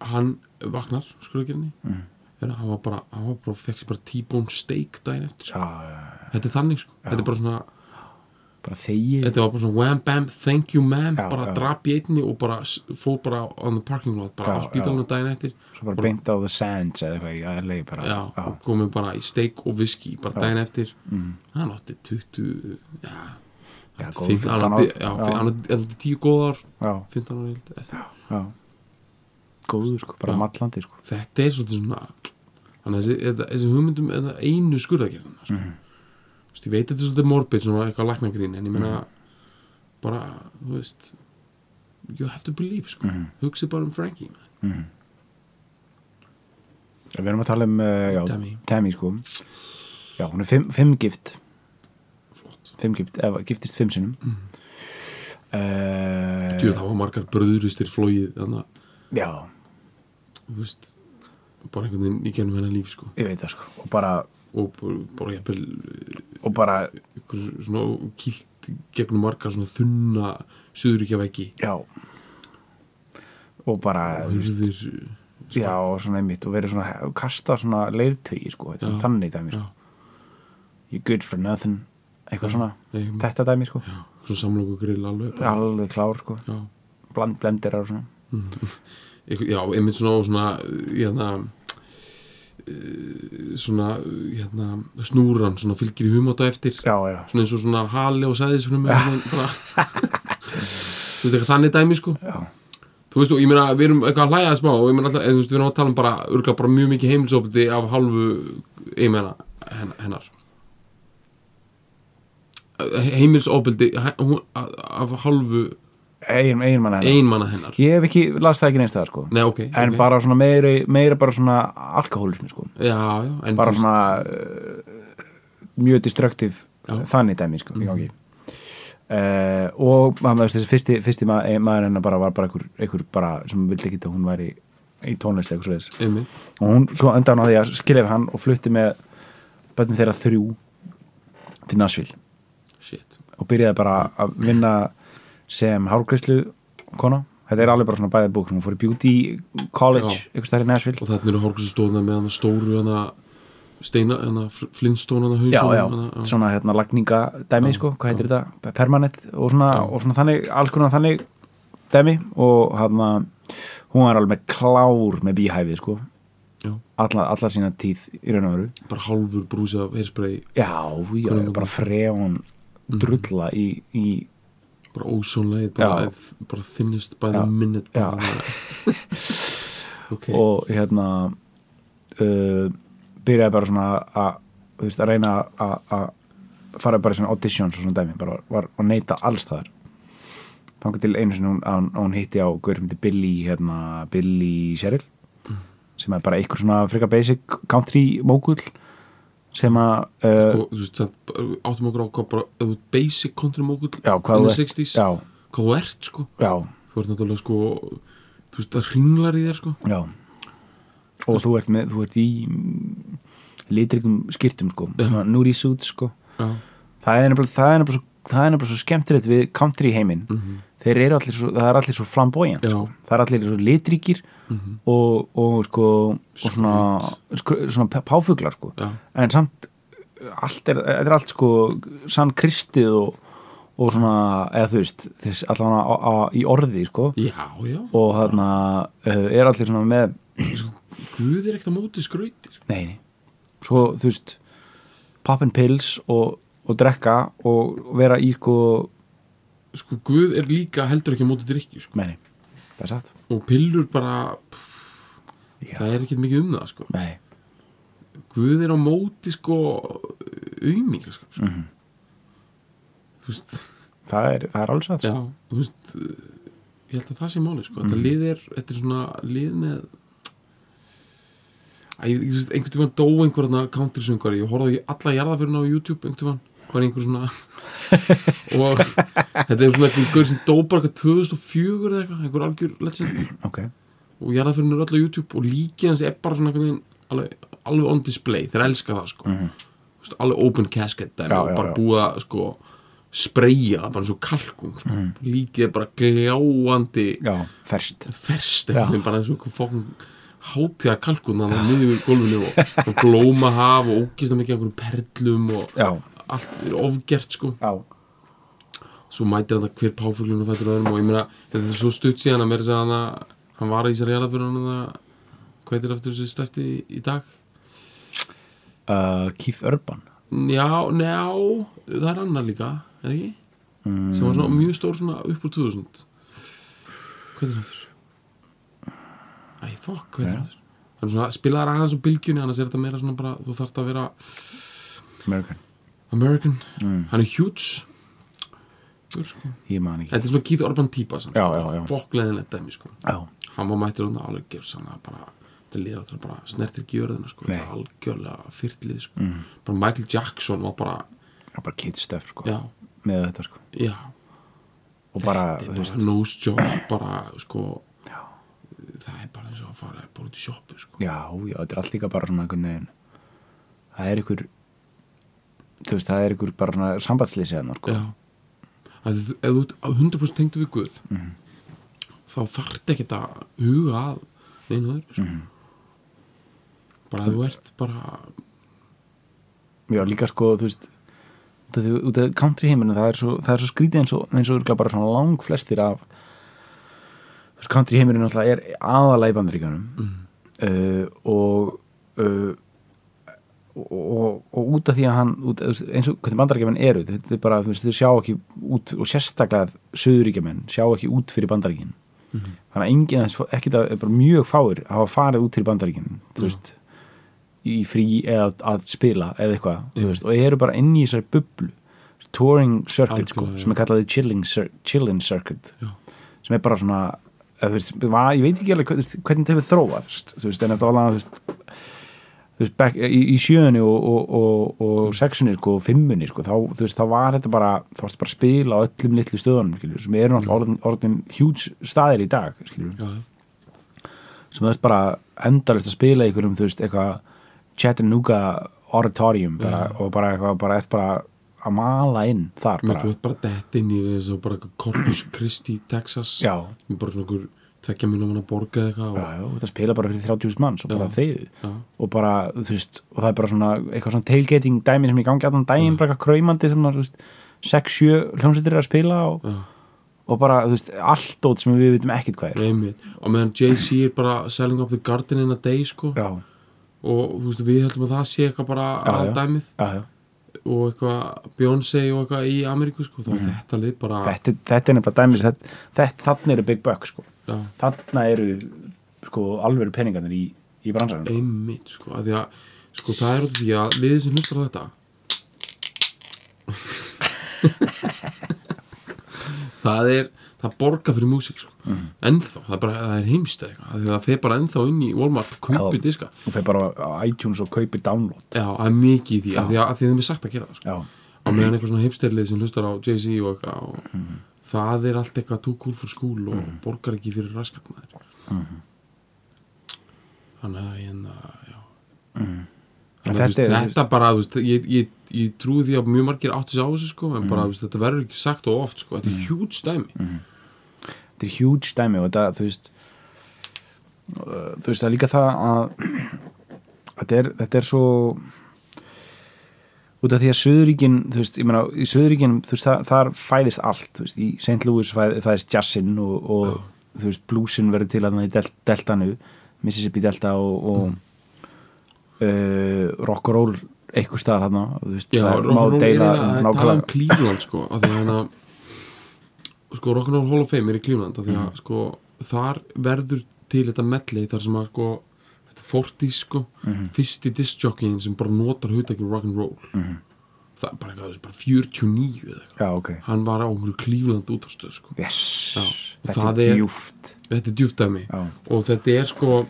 C: hann vaknar skurðagjörni mm. hann var bara, hann var bara, fekk sér bara t-bone steak daginn eftir, sko.
B: já, já,
C: þetta er þannig sko. þetta er bara svona,
B: bara þegi
C: þetta var bara svona wham bam, thank you ma'am,
B: Já,
C: bara
B: já.
C: drap í einni og bara s- fór bara on the parking lot bara
B: Já,
C: á spítalunum daginn eftir
B: Svo bara beint á the sands eða eitthvað í aðlegi bara
C: já, og komið bara í steik og viski bara daginn eftir mm. hann átti 20 já,
B: Já,
C: átti
B: góð
C: fimm-
B: 15
C: hann
B: ár.
C: átti- já,
B: Já.
C: fi- hann átti- hann átti 10 góð ár
B: já,
C: 15 ára ég held eftir.
B: já Góður sko, bara
C: Já.
B: mallandi sko
C: þetta er svolítið svona þannig að þessi, þetta, þessi hugmyndum eða einu skurðagerðina sko.
B: Mhm.
C: Þú veist, ég veit þetta er svolítið morbid svona eitthvað læknagrín en ég meina
B: Mhm.
C: bara, þú veist you have to believe sko,
B: Mhm.
C: mm. hugsi bara um Frankie man.
B: Við erum að tala um uh, já,
C: Tammy.
B: Tammy sko Já, hún er fimm, fimm gift
C: flott,
B: fimm gift, eða giftist fimm sinnum mm.
C: Mhm.
B: Eh.
C: Djú, það var margar bröðuristir flóið þannig að,
B: Já,
C: þú veist bara einhvern veginn í gennum hennar lífi sko
B: ég veit það sko og bara,
C: og bara- bara jafnvel
B: og bara
C: ykkur svona kýlt gegnum margar svona þunna suðuríkja veggi
B: já og bara
C: hurðir sko.
B: já, og svona einmitt og verið svona, kasta svona leirtögi sko, þetta
C: Já.
B: er þannig dæmi sko.
C: já,
B: you're good for nothing eitthvað svona,
C: nei,
B: þetta dæmi sko
C: Mm. já, svona samlóku grill alveg bara.
B: alveg klár sko
C: já.
B: Bland, blendirar og svona
C: Einhver- já, einmitt svona og svona hérna eh, svona hérna snúran svona fylgir í humáta eftir
B: já, já,
C: svona eins og svona hali og sæðisfrum (laughs) þú veist eitthvað þannig dæmi sko
B: já,
C: þú veist og ég meina við erum eitthvað að hlæja það smá og ég meina alltaf en, þú veist, við erum að tala um bara örgla bara mjög mikið heimilsopiti af hálfu ég meina henn- hennar heimilsopildi af hálfu
B: eigin, eigin manna hennar
C: einmanna hennar
B: ég hef ekki, las það ekki neins það sko
C: Nei, ok,
B: en
C: ok.
B: bara svona meira, meira bara svona alkohólismi sko
C: já, já, en
B: bara
C: þú-
B: svona uh, mjög destructive
C: Já. Mhm.
B: þannig dæmi sko, í gangi uh, og maður, veist, þessi fyrsti, fyrsti ma eh, maður hennar bara var bara einhver, einhver bara, sem vildi ekki að hún væri í tónlist eitthvað svoleiðis
C: einmitt,
B: og hún svo endaði hann á því að skilja við hann og flutti með bönnum þeirra þrjú til Nashville
C: shit
B: og byrjaði bara að vinna sem hárgrislu kona þetta er alveg bara svona bæðið búk hún fór í beauty college,
C: Já.
B: ykkur stærri Nashville
C: og þarna eru hálfkvæmstóðna með hana stóru hana steina, hana flinstóna hana
B: já,
C: hausóna
B: já, svona hérna lagninga dæmi, sko, hvað heitir þetta, permanent og svona, og svona þannig, alls konar þannig dæmi og hann hún var alveg klár með bíhæfið, sko
C: Já.
B: alla, alla sína tíð í raun og veru
C: bara hálfur brúsi af hairspray
B: já, já,
C: Hvernig-
B: bara freon drulla í, í
C: bara ósónlegið, bara,
B: Já.
C: eð- bara thinnest by the
B: Já.
C: minute
B: Já.
C: bara,
B: (laughs)
C: ok,
B: og hérna uh, byrjaði bara svona að þú veist, að reyna að að fara bara í svona auditions og svona dæmi bara var að neita alls þaðar þangar til einu sinni hún, að, hún- að hún hitti á hver myndi Billy, hérna, Billy Sherrill
C: Mm.
B: sem er bara einhver svona frika basic country mógull sem að uh,
C: og sko, þú veist samt, bara, áttum okkur á hvað bara ef þú ert basic country mókull
B: já, hvað
C: in
B: þú
C: the
B: ert
C: 60s,
B: já,
C: hvað þú ert sko
B: já,
C: þú ert náttúrulega sko þú veist það ringlar í þér sko
B: já og þú ert, með, þú ert í mm, litrikum skýrtum sko,
C: Já.
B: núri suit sko
C: já,
B: það er nefnilega, það er nefnilega, svo, það er nefnilega svo skemmtilegt við country heiminn þeir eru allir svo, það er allir svo flamboyant
C: Mhm. Já. Mhm.
B: sko. það er allir svo litríkir og, og sko og svona, skr, svona p- páfuglar sko.
C: já,
B: en samt allt er, þetta er allt sko sann kristið og, og svona eða þú veist, þess allan á, á, í orði sko
C: já, já
B: og þarna uh, er allir svona með
C: Guð er ekkert á móti skrauti sko.
B: Nei, nei. Svo, þú veist, poppin pills og, og drekka og vera í sko,
C: sko, Guð er líka heldur ekki á móti drikki sko.
B: meini, það er satt.
C: og pillur bara
B: Já.
C: það er ekkert mikið um það sko.
B: Nei.
C: Guð er á móti sko auðminga sko.
B: Mhm.
C: þú veist
B: Það er, það er alveg satt.
C: já,
B: sko.
C: þú veist eh, ég held að það sé máli sko. þetta lið er, þetta er svona lið með Æ, ég, ég, þú veist, einhvern tímann dó einhverna country-söngari, ég horfði á alla jarðafyruna á YouTube einhvern tímann, bara einhver svona og þetta er svona einhver gaur sem dó bara eitthvað 2004 eða eitthvað, einhver algjör legend
B: Ok.
C: og jarðafyrin er öll á YouTube og líkið hans er bara svona einhvern veginn alveg, alveg on display, þeir elska það sko
B: Mhm.
C: Þú veist, alveg open casket dæmi
B: Já,
C: og
B: já,
C: bara
B: já.
C: búið að sko spreyja það bara eins og kalkun sko. líkið er bara gljáandi
B: Mhm. Já, ferst.
C: ferst
B: Já.
C: einhvern veginn, bara eins og einhver fókn hátíða kalkun þannig að niður í gólfinu og,
B: (laughs)
C: og glóma haf og ógist mikið einhverjum perlum og
B: Já,
C: allt er ofgert sko
B: já.
C: svo mætir þetta hver páfuglun og fættur öðrum og ég meina þetta er svo stutt síðan að mér segja hann að hann var í þessari jarðafyrir hann að hvað heitir aftur þessi stærsti í, í dag
B: Uh, Keith Urban.
C: já, njá, það er annar líka eða ekki,
B: Mm,
C: sem var svona mjög stór svona upp úr 2000 hvað heitir hann aftur æ, fokk, hvað
B: Jæja.
C: heitir hann aftur hann er svona, spilaðar aðeins á bylgjunni annars er þetta meira svona bara, þú þarft að vera
B: American.
C: American,
B: Mm.
C: hann er huge Þú veist, sko.
B: Ég man ekki.
C: þetta er svona Keith Urban típa
B: Já, já, já.
C: fokkleðinlegt dæmi sko.
B: Já.
C: hann var mættur hann alveg gerðsann að bara þetta liða þetta bara snertir ekki jörðina sko,
B: Nei. Mhm.
C: þetta er algjörlega fyrtlið sko. bara Michael Jackson var bara
B: Það er bara kid stuff, sko.
C: já,
B: Með þetta, sko.
C: já,
B: Og bara,
C: þetta er
B: þú veist.
C: bara nose job bara sko það er bara eins og að fara bara út í sjoppu sko.
B: Já, já, þetta er allt líka bara svona einhvern veginn. Það er ykkur, þú veist, það er ykkur bara svona sambandslýsið hennar, sko.
C: já að þú- ef þú ert 100% tengdu við Guð
B: Mhm.
C: þá þarft ekki að huga að neina öðru sko.
B: Mhm.
C: bara að þú ert bara
B: Já, líka sko, þú veist Út af því, út af country heiminu, það er svo, það er svo skrítið eins og, eins og örugglega bara svona lang flestir af þú veist, country heiminu náttúrulega er aðalega í bandaríkjunum
C: Mm.
B: uh, og, uh, og, og og út af því að hann út, þú veist, eins og hvernig bandaríkjumenn eru þetta er bara, þú veist, þau sjá ekki út og sérstaklega söðuríkjumenn sjá ekki út fyrir bandaríkin
C: Mhm.
B: þannig að enginn, af þess- ekkert að bara mjög fáir hafa farið út fyrir bandaríkin þú
C: Já.
B: veist í frí eða að spila eða eitthvað þú
C: Einmitt.
B: veist, og eru bara inn í þessari bublu touring circuit sko,
C: Algjörlega, já.
B: sem er kallaði chilling, cir chilling circuit
C: Já.
B: sem er bara svona eða, þú veist, var, ég veit ekki alveg hvað- þú veist, hvernig þetta hefur þróast þú veist, en þetta var alveg þú veist, þú veist, back, í, í sjöunni og, og, og,
C: Mm.
B: og sexunni sko, og fimmunni sko, þá, þú veist, þá var þetta bara þá varst bara að spila á öllum litlu stöðunum skilur, sem eru náttúrulega orðin, orðin huge staðir í dag skilur,
C: já, já,
B: sem þú veist bara endalist að spila í einhverjum, þú veist, eitthvað Chattanooga auditorium bara,
C: Mm.
B: og bara eitthvað, bara ert bara að mala inn þar
C: mér
B: bara,
C: fótt bara dett inn í eins og bara eitthvað Corpus Christi, Texas
B: já,
C: Mér bara svona okkur tvekja mínum hann að borga eða eitthvað
B: já,
C: og,
B: já, þetta spila bara fyrir 30.000 manns og bara
C: Já.
B: þegið
C: já,
B: og bara, þú veist, og það er bara svona eitthvað svona tailgating dæmi sem ég gangi allan daginn, bara eitthvað kraumandi sem maður, þú veist 6-7 hljómsveitir eru að spila og,
C: já,
B: og bara, þú veist, allt ótt sem við vitum ekkit hvað er
C: einmitt og meðan Jay-Z er bara selling up the garden in a day sko
B: já,
C: og þú veist við heldum að það sé eitthvað bara
B: Já, já.
C: aðdæmið
B: já, já,
C: og eitthvað Beyoncé og eitthvað í Ameríku sko þá er
B: Mhm.
C: þetta lið bara
B: þetta, þetta er nefnilega dæmi þetta, þetta, þannig eru Big Buck, sko
C: já,
B: þarna eru sko alvöru peningarnir í, í bransanum
C: einmitt sko að því að sko það er út af því að liðið sem hlustar á þetta (laughs) það er það borga fyrir músík sko
B: Mhm.
C: ennþá, það er bara, það er heimst eða eitthvað af því að það fer bara ennþá inn í Walmart og
B: Já.
C: kaupir diska
B: og fer bara á iTunes og kaupir download
C: já, það er mikið í því af því að, að því að þeim er sagt að gera það sko.
B: já,
C: á meðan eitthvað svona hipsterlið sem hlustar á Jay-Z og eitthvað og
B: Mhm.
C: það er allt eitthvað too cool for school og borgar ekki fyrir raskatnaðir
B: Mhm.
C: þannig að hérna, já
B: En Mhm.
C: þannig að
B: þetta
C: þetta,
B: er-
C: þetta bara, þú veist, ég, ég, ég trúi því að mjög margir áttu sér á þessu sko,
B: Mhm.
C: en bara, þú veist, þetta verður ekki sagt og oft sko, þetta er hjúts dæmi
B: þetta er huge dæmi og þetta, þú veist uh, þú veist, það er líka það að þetta er, þetta er svo út af því að Suðuríkin, þú veist, ég meina í Suðuríkin, þú veist, það, þar fæðist allt þú veist, í St. Louis fæð, fæðist jazzin og, og þú veist, bluesin verður til að það í del, deltanu, Mississippi delta og, og
C: Mm.
B: uh, rock and roll eitthvað staðar hann, þú veist,
C: já,
B: það má
C: rock'n'roll er
B: deila
C: að að tala um
B: nákvæmlega,
C: Cleveland sko, af því að hérna sko, rock'n'roll Hall of Fame er í Cleveland af því
B: Mhm.
C: að, sko, þar verður til þetta melli þar sem að, sko þetta fortís, sko,
B: Mhm.
C: fyrsti discjockeyin sem bara notar hugtækjum rock'n'roll
B: Mhm.
C: mm -hmm. það er bara eitthvað, þessi bara 49 eða eitthvað,
B: já, ok
C: hann var á einhverju Cleveland útastöð, sko,
B: yes,
C: Já, og
B: þetta
C: það
B: er
C: er-
B: djúft
C: þetta er djúftæmi
B: já,
C: og þetta er sko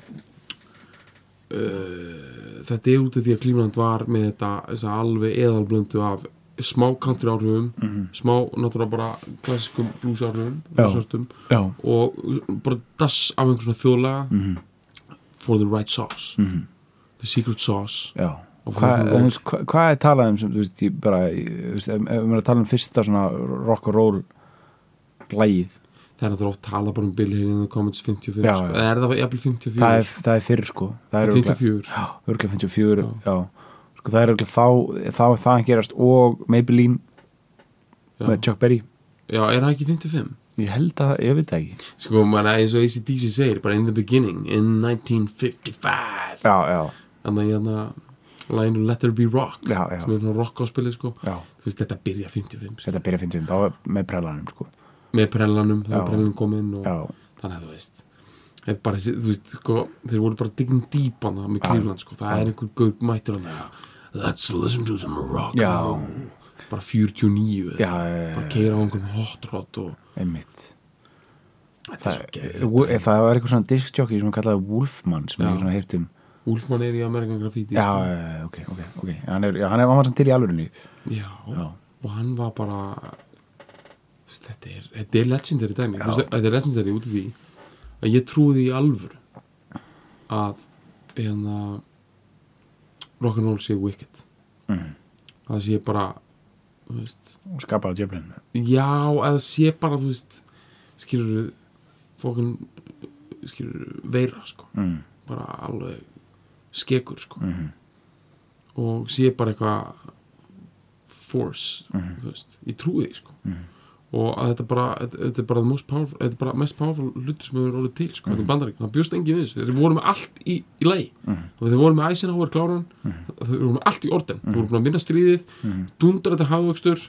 C: uh, þetta er út af því að Cleveland var með þetta þessa alveg eðalblöndu af smá country áhrifum smá náttúrulega bara klassiskum blues áhrifum
B: Mhm. Já.
C: bluesartum,
B: já,
C: og bara dass af einhvern svona þjóðlega for the right sauce
B: Mhm.
C: the secret sauce
B: já
C: Og
B: Hvað
C: rock and roll.
B: hva, hva er talað um sem, þú veist, ég bara, ég- þú veist, ef ef við erum að tala um fyrsta svona rock and roll lægið,
C: það er náttúrulega oft tala bara um Bill Haley in the Comments 55
B: Já,
C: sko.
B: já.
C: eða er það jafnvel 54
B: það er, það er fyrir sko það er örugglega-
C: 54
B: já, örgulega 54 já, sko það er örgulega þá þá er það að gerast og Maybelline
C: Já.
B: með Chuck Berry
C: já, er það ekki 55?
B: ég held að, ég veit það ekki
C: sko, mann að eins og ACDC segir bara in the beginning, in 1955
B: já, já,
C: þannig að hérna læginu Let There Be Rock
B: já, já,
C: sem er svona rock áspilið sko
B: já.
C: Þú veist, þetta byrja 55 sko.
B: þetta byrja að fyndum þá er- með prellanum sko
C: með prellanum, það
B: Já.
C: er prellin kominn og
B: já,
C: þannig að þú veist það er bara, þessi- þú veist, sko, þeir voru bara digging deep hana með Cleveland sko, það er einhver gaur mættur hana Let's listen to some rock and
B: Já.
C: roll." bara 49
B: já,
C: bara
B: já,
C: keira á einhverjum hot rod og
B: einmitt
C: þetta
B: það,
C: er svo
B: Wo- það var eitthvað svona diskjockey sem hann kallaði Wolfman sem
C: Já.
B: ég svona heyrt um
C: Úlfmann er í American Graffiti
B: já,
C: sko.
B: já, ok, ok, ok hann, er, já, hann, er, hann var svona til í alvörinu
C: já,
B: já,
C: og hann var bara þú veist, þetta, er, þetta er legendary dæmi Þú veist, þetta er legendary út af því að ég trúði í alvör að hérna rock'n'roll sé wicked
B: Mhm.
C: það sé bara þú veist,
B: og skapaði djöflin
C: já, eða sé bara þú veist, skilur fókun skilur veira sko,
B: mm,
C: bara alveg skekur sko
B: mm,
C: og sé bara eitthvað force þú veist, ég trúi því sko og að þetta bara, þetta, þetta er bara, the most powerful, þetta er bara mest powerful hlutur sem hefur orðið til sko, þetta er bandarík, það bjóst engin við þessu þeir voru með allt í, í lagi þeir voru með Eisenhower kláran þeir voru með allt í orden, þeir voru búin að vinna stríðið dundra þetta hafvöxtur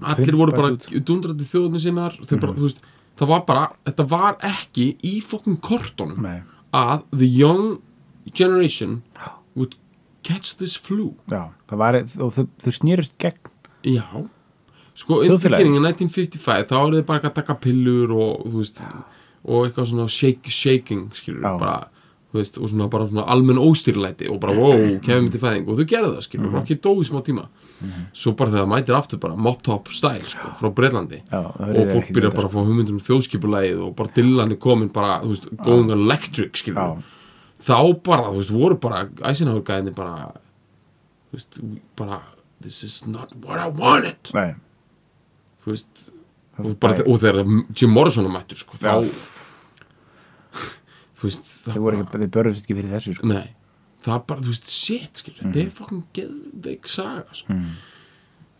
C: allir voru bara dundrandi þjóðinu sinnar mm. bara, þú veist, það var bara, þetta var ekki í fokkin kortunum
B: Nei,
C: að the young generation would catch this flu
B: já, það var, og þau, þau snýrist gegn
C: já sko, in the
B: Þjóðfélagið.
C: beginning, in 1955 þá eru þið bara að taka pillur og þú veist, og eitthvað svona shake, shaking, skilur,
B: Já.
C: bara þú veist, og svona bara svona almenn óstýrlæti og bara, wow, kefum til fæðing og þau gerðu það,
B: Mhm.
C: skilur, mm -hmm. ekki dói í smá tíma svo bara þegar það mætir aftur bara mop top style, sko, frá Breitlandi
B: já, það
C: og fólk byrjar
B: sko.
C: bara að fá hugmyndum um þjóðskipulegið og bara Dylan er komin bara, þú veist, going electric skilur,
B: Já.
C: þá bara, þú veist, voru bara Eisenhower gæðinni bara þú veist, bara this is not what I wanted
B: Nei,
C: þú veist,
B: það
C: og, bara, og þegar Jim Morrison er mættur, sko,
B: Já.
C: þá (laughs) þú veist,
B: Þau
C: það
B: voru ekki, þau börjast ekki fyrir þessu, sko
C: nei, það er bara, þú veist, shit, skilur, þetta er fucking geðveik saga, sko
B: Mm.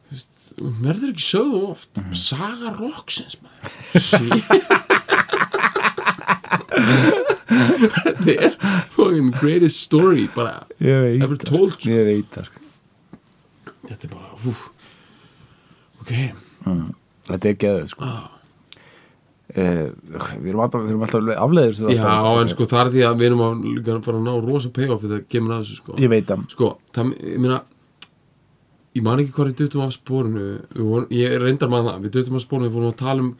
C: þú veist, hún verður ekki sögðu oft saga roksins,
B: (laughs)
C: maður shit (laughs) þetta er fucking greatest story, bara
B: Ég veit
C: ever told, sko
B: Ég veit það, sko
C: þetta er bara, hú ok,
B: Mm. Þetta er geðið, sko
C: ah
B: uh, Við erum alltaf, við erum alltaf afleiðist
C: Já, en sko það er því að við erum að líka bara að ná rosa payoff þegar kemur að þessu sko
B: Ég veit það
C: Sko, það, ég meina ég man ekki hvað við duttum af spórinu Við vorum, ég er reyndar maður það, við duttum af spórinu við vorum að tala um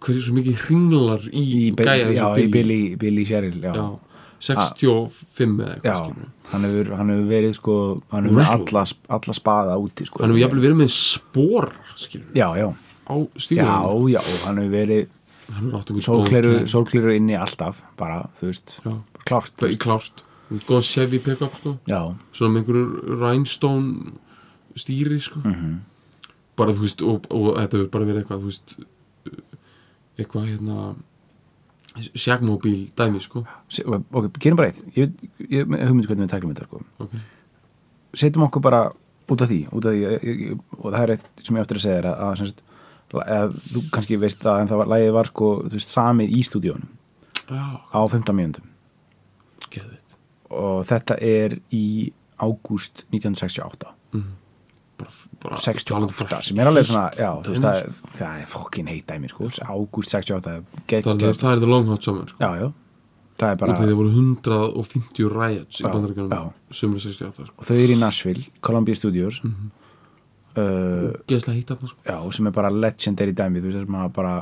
C: hverju svo mikið hringlar í,
B: Bill-
C: gæja
B: Já,
C: þessu
B: í Billy, Billy Sherrill, já,
C: Já, 65
B: Já,
C: eða eitthvað skilur
B: hann hefur, hann hefur verið sko hann hefur verið
C: Rattle.
B: alla, sp- alla spaða úti sko.
C: Hann hefur jafnvel verið með spór skilur
B: Já, já,
C: á
B: já,
C: stíðum
B: já, hann hefur verið
C: Hann hefur átt okkur
B: sólkleru, sólkleru inni alltaf bara, þú veist,
C: Já,
B: klárt þú
C: það er
B: veist.
C: klárt Góðan Chevy pickup sko
B: Já,
C: svona með einhverju rhinestone stýri sko
B: Mhm.
C: bara þú veist og, og þetta hefur bara verið eitthvað þú veist eitthvað hérna sjagmóbíl dæmi sko
B: Se- ok, gerum bara eitt ég, ég hugmyndi hvernig við tæklum þetta sko.
C: ok,
B: setjum okkur bara út af því, út af því ég, ég, og það er eitt sem ég áttur að segja þér að, að, sem sagt, la- að þú kannski veist að en það var, lagið var sko, þú veist, samið í stúdíónum
C: já,
B: á 15 mínúndum
C: geðvitt
B: og þetta er í ágúst 1968
C: bara, bara
B: 68 sem er alveg svona,
C: heilt
B: já, þú veist,
C: Ah,
B: það,
C: dæmi, sko.
B: er- það er fokkin heitt dæmi, sko, ágúst 68 gegn,
C: sko. það er
B: gegn,
C: það er the long hot summer sko.
B: já, já það er
C: bara...
B: bara,
C: það voru 150 riots í
B: Já,
C: bandaríkjunum
B: já.
C: sumri 68 sko.
B: og þau eru í Nashville Columbia Studios uh,
C: geðslega hýtt þarna sko.
B: já, sem er bara legendary dæmi, þú veist, sem að bara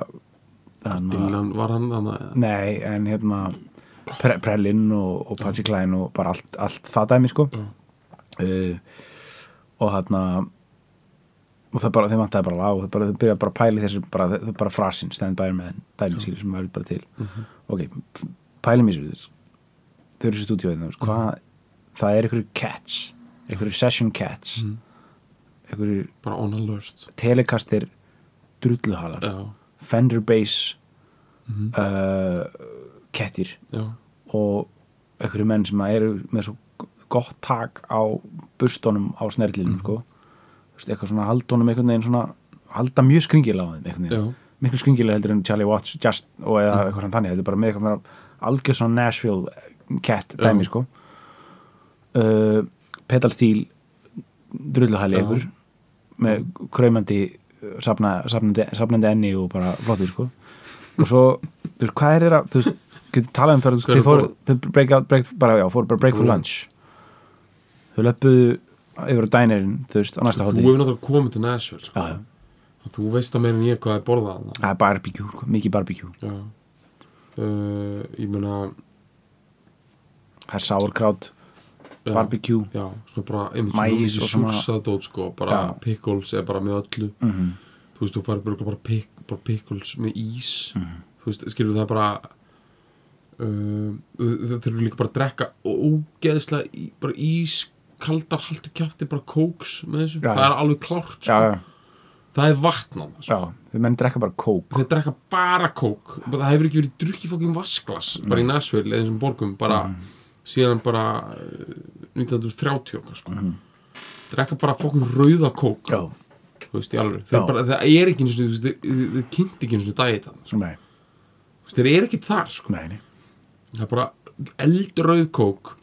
B: hana,
C: Dylan var hann eh, þannig
B: nei, en hérna Pre Prellin og, og Patsy Klein og bara allt, allt það dæmi, sko uh, og þarna og það bara, þeim vantaði bara lag og þau bara, þau byrjaði bara að pæli þessu bara, þau bara frasin, stand by með dæmi skilur sem verður bara til ok, f- pælum í þessu þess þau eru í stúdíóið þú veist, hvað það er einhverju catch, einhverju session catch
C: Mhm.
B: einhverju
C: bara on alert
B: telekastir drulluhalar,
C: já,
B: Fender Bass
C: Mhm.
B: uh, kettir
C: já,
B: og einhverju menn sem eru með svo gott tak á bustónum á snerlinum mm. sko Þú veist, eitthvað svona haldónum einhvern veginn svona halda mjög skringilega á þeim einhvern
C: já
B: veginn miklu skringilega heldur en Charlie Watts Just og
C: Mm.
B: eða eitthvað svona þannig heldur bara með eitthvað meira algjör svona Nashville cat
C: Já.
B: dæmi sko uh, pedalstíl drulluhæli
C: Já.
B: ykkur með kraumandi uh, safna, safnandi, safnandi enni og bara flottir sko og svo, þú veist, hvað er þeirra þú veist, getur talað um fyrir,
C: Hvað
B: þau
C: eru
B: fóru
C: að
B: þau break out, break, bara, já, fóru bara break for
C: Já.
B: lunch þau löppuðu yfir á dænirin, þú veist, á næsta
C: Þú
B: hóti
C: hefur náttúrulega komið til Nashville sko.
B: Já, já.
C: Þú veist það meira en ég hvað er borðað þarna.
B: það er barbecue, sko, mikið barbecue
C: Já. uh, Ég meina
B: það er sárkrát,
C: já,
B: barbecue
C: Já, svona bara einmitt
B: Maís og
C: svona
B: svona-
C: súsadót sko, bara
B: Já.
C: pickles er bara með öllu
B: mm -hmm.
C: Þú veist, þú færi bara, bara, pick, bara pickles með ís
B: Mhm.
C: Þú veist, skilur það er bara uh, Það þurfum líka bara að drekka ógeðslega í, bara ís kaldar haldu kjafti, bara kóks með þessu,
B: Já,
C: það
B: já.
C: er alveg klárt sko.
B: já, já,
C: það er vatnað sko.
B: já, þau menn drekka bara kók
C: þeir drekka bara kók það hefur ekki verið drukkið fokkin vasklas bara í Nashville eða
B: Mm.
C: þessum borgum bara síðan bara eh, 1930 okkar sko drekka bara fokkin rauða kók
B: Mhm. já,
C: þú veist, í alveg
B: Já.
C: þeir bara, það er ekki einu sinni, þú veist, þau- þau kynnt ekki einu sinni dagið þannig,
B: nei,
C: sko. þeir eru ekki þar sko.
B: nei, nei
C: það er bara eldrauð kók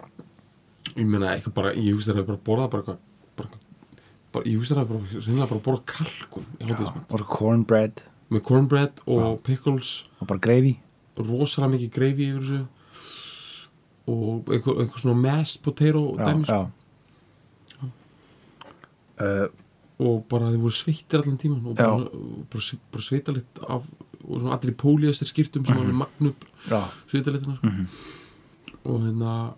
C: ég meina, eitthvað bara, ég hugst þeir hafa bara borðað bara eitthvað bara, eitthvað- bara, ég hugst þeir hafa bara, reynilega bara borðað kalkun í
B: já,
C: hátíðismat.
B: og svo cornbread
C: með cornbread og pickles
B: og bara gravy
C: rosalega mikið greifi yfir þessu og einhver, einhver svona mashed potato
B: já,
C: dæmis
B: já Uh,
C: og bara þeir voru sveittir allan tíman og
B: Já.
C: bara, og bara, svi- bara sveitalegt af og svona allir í póliðastir skýrtum sem mm -hmm. magnup
B: Mhm. já, Mhm.
C: sveitalitina sko. og hérna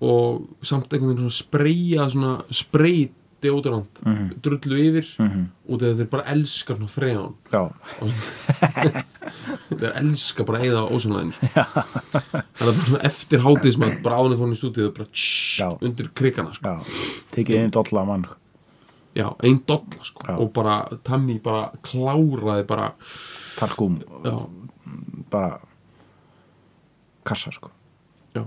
C: og samt einhvern veginn svona spreyja svona sprey deodorant
B: Mhm.
C: drullu yfir
B: mhm,
C: og þegar þeir bara elska svona freon
B: já,
C: þeir elska bara að eyða á ósonlæðinu sko. það er bara svona eftir hátíðismann bara áðan þeir fórum í stúdíu bara tss,
B: Já.
C: undir krikana sko.
B: já tekið einu dolla mann sko.
C: já, ein dolla sko.
B: Já.
C: og bara Tammy bara kláraði bara
B: talkum,
C: já,
B: bara kassa sko
C: já,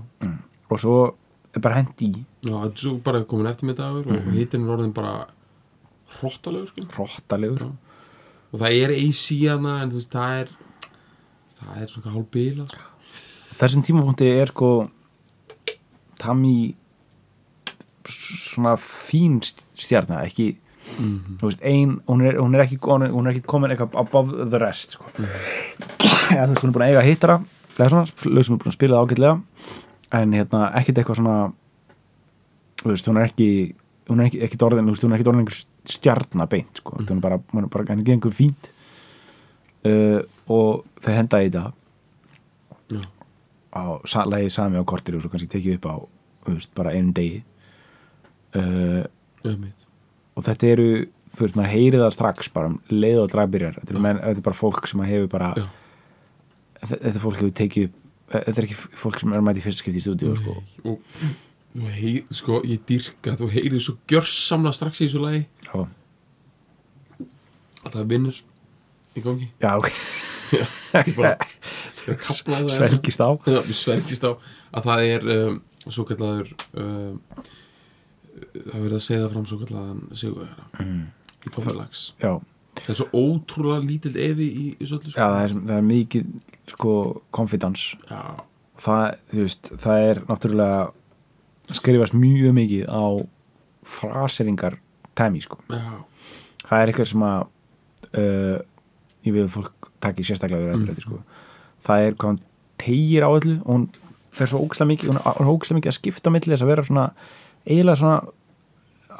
B: og svo er bara hent í
C: já þetta er svo bara komin eftirmiddagur
B: Mhm.
C: og hitinn er orðin bara hróttalegur sko.
B: hrottalegur
C: Já. og það er AC hana en þú veist það er það er svona hálf bila sko.
B: þessum tímapunkti er sko Tami svona fín stjarnar ekki þú veist, ein, hún er, hún er ekki komin, hún er ekki komin eitthvað above the rest sko. eða þú veist, hún er búin að eiga hittara eða svona, lög sem er búin að spila það ágætlega en hérna, ekkert eitthvað svona þú veist, hún er ekki hún er ekki, ekki orðin, þú veist, hún er ekki orðin einhver stjarnabeint, sko, hún er bara, hún er bara henni gengur fínt uh, og þau henda í þetta
C: Já.
B: á sa- lagið sami á kortir og svo kannski tekið upp á, þú veist, bara einu degi uh,
C: Einmitt.
B: og þetta eru þú veist, maður heyri það strax bara um leið og dragbyrjar, þetta, eru menn, þetta er bara fólk sem hefur bara
C: Já.
B: þetta þetta fólk hefur tekið upp e-, þetta er ekki f- fólk sem er mæti fyrst skipti í stúdíu sko.
C: og þú heyrið sko, ég dýrka þú heyrið svo gjörsamla strax í þessu lagi
B: já,
C: að það er vinnur í gangi
B: já, ok,
C: ég bara ég er að kapla það hérna.
B: svelgist á
C: Já, við svergist á að það er um, svo kallaður um, það verður að segja það fram svo kallaðan sigurvegara
B: Mm.
C: í fórfélags
B: já,
C: það er svo ótrúlega lítill evi í, sko. í svolítið
B: já það, er, það er mikið sko, confidence
C: já,
B: það, þú veist, það er náttúrulega skrifast mjög mikið á fraseringar tæmi, sko
C: já,
B: það er eitthvað sem að uh, ég við fólk takki sérstaklega við eftir þetta sko. það er hvað hann tegir á öllu og hún fer svo ógæslega mikið hún hún er ógæslega mikið að skipta á milli þess að vera svona eiginlega svona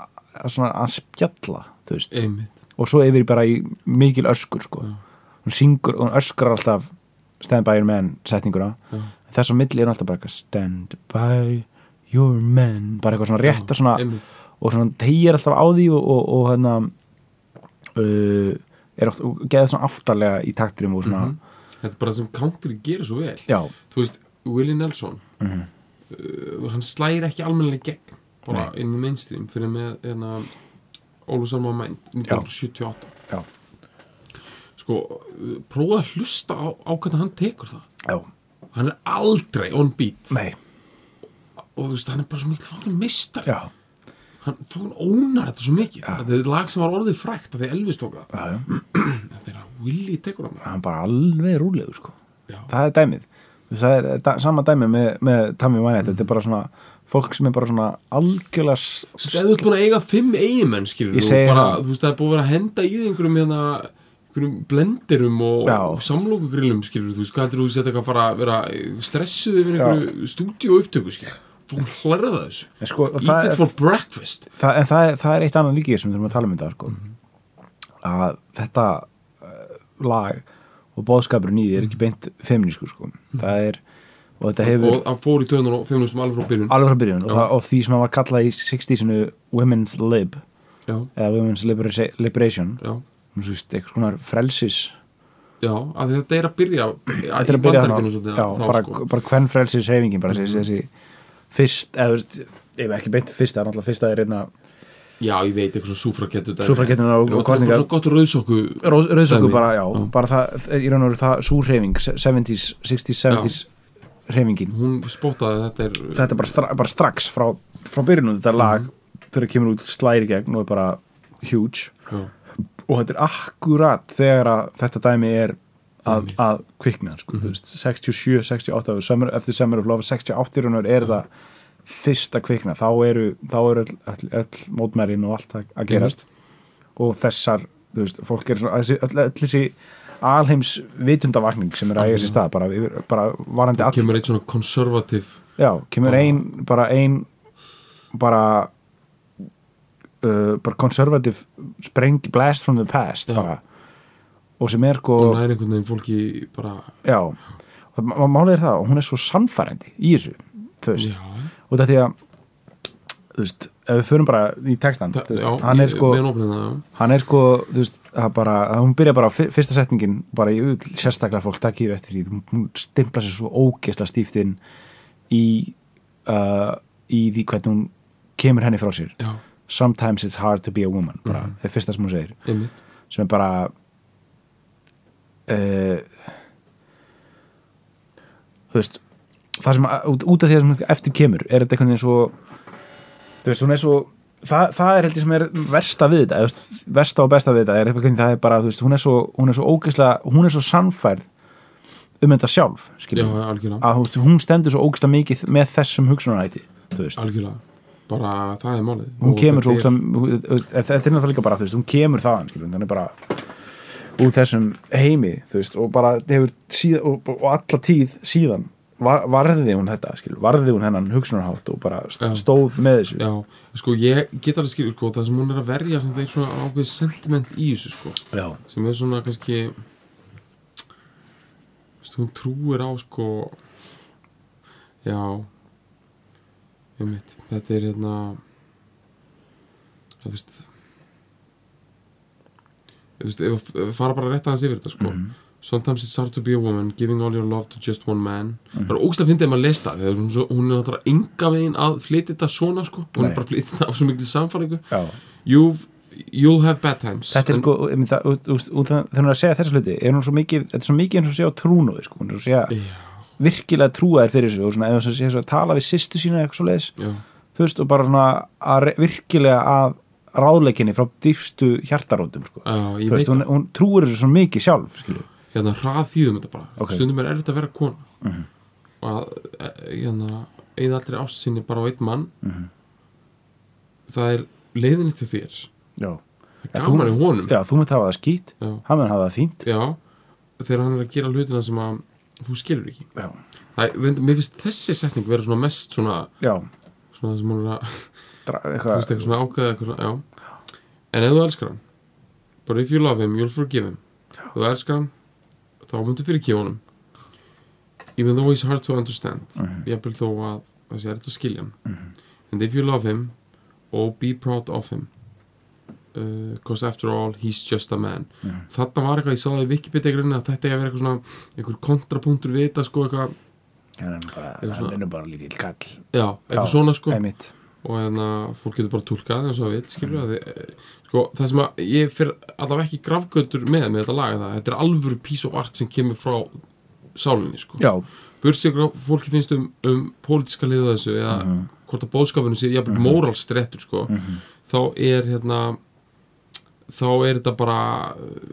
B: að, svona að spjalla þú veist
C: einmitt
B: og svo yfir í bara í mikil öskur sko.
C: Já.
B: hún syngur, hún öskrar alltaf stand by your man setninguna
C: Já.
B: þess á milli er hún alltaf bara eitthvað stand by your man bara eitthvað svona rétta svona
C: einmitt,
B: og svona tegir alltaf á því og, og, og hérna uh, er oft og geða svona aftarlega í takturum og svona
C: þetta er bara sem country gerir svo vel
B: já,
C: þú veist, Willie Nelson
B: Mhm.
C: uh, hann slæðir ekki almennilega í gegn bara inn í mainstream fyrir með hérna, Ólfur Salma Mind 1978
B: já,
C: sko, uh, prófa að hlusta á, á hvernig hann tekur það
B: já
C: hann er aldrei on beat
B: nei,
C: og þú veist, hann er bara svo mikil fangin meistar
B: já,
C: hann fangin ónar þetta svo mikið þetta er lag sem var orðið frækt að því Elvis tók það
B: já, já
C: en þegar Willy tekur hann
B: hann bara alveg rúlegur sko
C: já,
B: það er dæmið, Þú veist, það er da, sama dæmið með, með Tammy Wynette, þetta er bara svona fólk sem er bara svona algjörlega s-
C: þegar þú ert búin að eiga fimm eigimenn skilur
B: Ég
C: og
B: segi
C: bara,
B: það.
C: þú veist, það er búin að vera að henda í þig einhverjum hérna einhverjum blenderum og
B: Já.
C: samlokugrillum skilur, þú veist, hvað heldur þú setja eitthvað að fara að vera eh, stressuð yfir einhverju stúdíu upptöku skilur, fórum hlerða þessu
B: En sko, og
C: eat
B: það er-
C: it for breakfast
B: það, en það, er- það er eitt annað líkið sem við þurfum að tala um þetta sko. að þetta uh, lag og bóðskapurinn í því er ekki
C: Mhm.
B: beint feminísku sko. það er og þetta hefur
C: og að fór í töðunar og fimm sem alveg frá byrjun
B: alveg frá byrjun og, það, og því sem var kallað í 60-sinu Women's Lib
C: já,
B: eða Women's Liberisa- Liberation
C: já,
B: um, svo veist, eitthvað svona frelsis
C: já, að þetta er að byrja þetta
B: þetta er að byrja hana
C: svolítið,
B: já,
C: frá,
B: bara,
C: sko. Mhm.
B: bara hvern frelsis reyfingin bara þessi, þessi fyrst eða þú veist, ef ekki beint fyrst það er náttúrulega fyrst að hérna er einna
C: já, ég veit eitthvað svona súfrakettu
B: Súffragettunar og- og kosningar.
C: svona gott rauðsokku
B: Rós- Rauðsöku
C: Dæmi.
B: bara, já,
C: Já.
B: bara það, í raun og veru það, svo hreyfing, 70s, 60s, 70s hreyfingin,
C: hún spottaði að þetta er Mhm.
B: þetta er bara, stra bara strax frá, frá byrjunum þetta lag þegar það kemur út slæri gegn og er bara huge
C: já,
B: og þetta er akkurat þegar að þetta dæmi er að,
C: Einmitt.
B: að kvikna sko, mm veist, 67, 68 eftir summer, eftir summer of love 68 raunar er það fyrst að kvikna þá eru, þá eru öll, öll, öll mótmærin og allt að, að gerast og þessar, þú veist, fólk er svona, þessi, öll, öll þessi alheims vitundavakning sem er að eiga sér stað bara, yfir- bara varandi all
C: kemur eitt svona konservativ
B: Já, kemur ein bara ein bara uh, bara conservative spreng, blast from the past
C: Já.
B: bara og sem er sko
C: og næri einhvern veginn fólki bara
B: já, það- ma- málið er það og hún er svo sannfærandi í þessu þú veist,
C: já,
B: og þetta er að þú veist, ef við förum bara í textan
C: það-
B: þú veist,
C: já,
B: hann er
C: ég-
B: sko
C: meðan opnina, já.
B: hann er sko, þú veist, það bara að hún byrja bara á fyr- fyrsta setningin bara í öll sérstaklega fólk takkið eftir því hún- hún stimpla sér svo ógeðsla stíft inn í uh, í því hvernig hún kemur henni frá sér
C: já,
B: sometimes it's hard to be a woman bara, það er fyrsta sem hún segir
C: einmitt
B: sem er bara uh, þú veist það sem, að- út, út af því að sem hún eftir kemur er þetta einhvern veginn svo þú veist, hún er svo það, það er heldur sem er versta við þetta þú veist, versta og besta við þetta er einhvern veginn það er bara, þú veist, hún er svo, hún er svo ógeðslega hún er svo sannfærð um þetta sjálf,
C: já,
B: skiljum
C: algjörlega,
B: að þú veist, hún stendur svo ógeðslega mikið með þessum hugsunarhætti, þú veist
C: algjörlega bara það er málið
B: hún
C: Og
B: kemur svo
C: þetta er-
B: ógeðslega- þú veist, þetta er náttúrulega líka bara þú veist, hún kemur þaðan skilur, þannig bara úr þessum heimi þú veist, og bara hefur síðan, og, og alla tíð síðan var, varði hún þetta skilur, varði hún hennan hugsunarhátt og bara
C: Já.
B: st- stóð með þessu
C: já, sko ég get alveg skilur sko, það sem hún er að verja sem það er svona ákveð sentiment í þessu sko
B: Já.
C: sem er svona kannski veist, hún trúir á sko já einmitt, þetta er hérna það veist þú veist, ef ef við fara bara rétt aðeins yfir þetta sko
B: Mhm.
C: Sometimes it's hard to be a woman, giving all your love to just one man
B: Mhm.
C: Það er ógst að fyndið ef maður les það Þegar hún, svo, hún er náttúrulega enga veginn að flytja þetta svona sko Hún
B: Nei.
C: er bara að flytja þetta af svo mikil samfæringu
B: Já.
C: You've, You'll have bad times
B: þetta er
C: En-
B: sko, ég meina, það- út- út- út- þegar hún er að segja þessa hluti er hún svo mikið, þetta er svo mikið eins og sé á trúnóði sko, hún er svo sé að
C: Já,
B: virkilega trúa þér fyrir þessu og svona, eða svo sé að tala við sýstu sína eða eitthvað svo leiðis
C: já
B: þú veist, og bara svona að re- virkilega að ráðleikinni frá dýfstu hjartarótum sko.
C: Já, ég
B: þú
C: veit
B: veist, hún,
C: það,
B: hún trúir þessu svona mikið sjálf skilju.
C: hérna hrað þýðum þetta bara
B: Ok. Mhm.
C: stundum er erfitt að vera kona og að, e- hérna, eða allri ást sinni bara á einn mann
B: Mhm.
C: það er leiðinni til þér
B: já.
C: það er gaman í honum
B: já, þú munt hafa það skýt,
C: Já.
B: hann mun hafa það fínt
C: Já, þegar hann er að gera hlutina sem að þú skilur ekki
B: já,
C: það, er- reyndar- mér finnst þessi setning vera svona mest svona,
B: já
C: svona sem hún er að
B: dra,
C: þú
B: eitthvað,
C: veist eitthvað svona ákveða eitthvað svona, já en ef þú elskar hann bara if you love him, you'll forgive him ef þú elskar hann, þá myndu fyrirgefa honum even though he's hard to understand jafnvel þó að það sé erfitt að skilja hann and if you love him oh be proud of him because after all he's just a man þarna var eitthvað, ég sá það í Wikipedia grunni að þetta er að vera eitthvað svona einhver kontrapunktur við þetta sko eitthvað,
B: hann er nú bara,
C: Eitthvað
B: hann
C: svona-
B: er nú bara lítill kall
C: já, eitthvað svona sko
B: einmitt,
C: og hérna fólk getur bara túlkað eins og það vil skilur mm. að, sko, það sem að ég fyrir allavega ekki grafgötur með með þetta lag er það, þetta er alvöru piece of art sem kemur frá sálinni sko.
B: já,
C: börsið hvað fólki finnst um, um pólitíska liða þessu eða hvort að bóðskapinu sé jafnvel mm. móralstrettur sko, þá er hérna þá er þetta bara uh,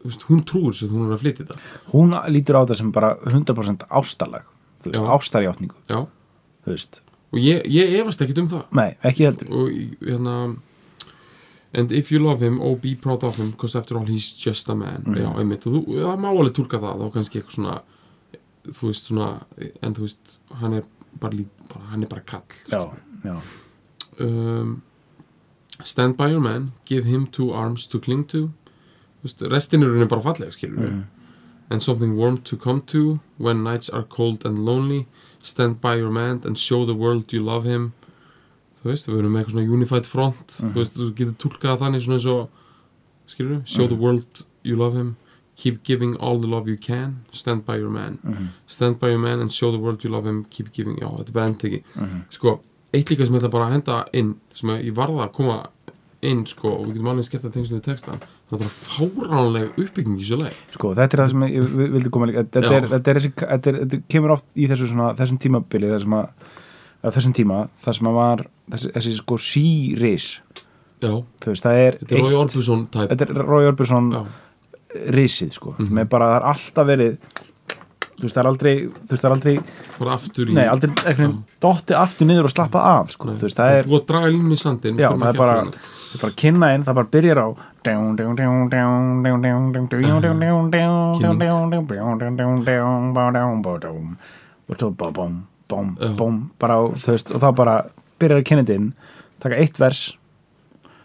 C: þú veist, hún trúir svo hún er að flytja þetta
B: hún lítur á það sem bara 100% ástalag þú veist,
C: Já.
B: ástarjátningu
C: Já.
B: þú veist,
C: og ég, ég efast ekkit um það
B: nei, ekki heldur
C: og í- hérna and if you love him, oh be proud of him because after all he's just a man já, einmitt, og þú, það má alveg tólka það þá kannski eitthvað svona þú veist svona, en þú veist hann er bara, lít, bara, hann er bara kall
B: já, já,
C: um, stand by your man give him two arms to cling to Þú veist, restin er raunin bara falleg skilur við
B: Mhm,
C: and something warm to come to when nights are cold and lonely stand by your man and show the world you love him þú veist, við erum með eitthvað svona unified front þú veist, þú getur tólkað það þannig svona eins og skilur við, show the world you love him keep giving all the love you can stand by your man
B: mhm.
C: stand by your man and show the world you love him keep giving, já, þetta er bara endteki sko, eitt líka sem ég ætla bara að henda inn sem að ég varða að koma inn sko, og við getum alveg skert að tengslu við textan það er fáránleg uppbygging í svo leið
B: sko, þetta er það sem ég vi- vildi koma líka þetta
C: Já.
B: er, þetta er þessi, þetta, er, þetta kemur oft í þessu svona, þessum tímabili þessum að á þessum tíma þar sem að var þessi, þessi sko sí-ris
C: já,
B: þú veist, það er
C: þetta er Rói Orbjörnsson tæp
B: þetta er Rói Orbjörnsson
C: já,
B: risið sko, sem er bara, það er alltaf verið þú veist, það er aldrei þú veist, það er aldrei,
C: bara aftur í
B: nei, aldrei einhvern veginn dotti aftur niður og slappað af sko, þú veist, það er
C: búið að draga línu í sandin
B: Já, það er bara, það er bara kynna inn, það bara byrjar á og svo bá, bóm, bóm, bóm bara á, þú veist, og þá bara byrjar að kynna þetta inn, taka eitt vers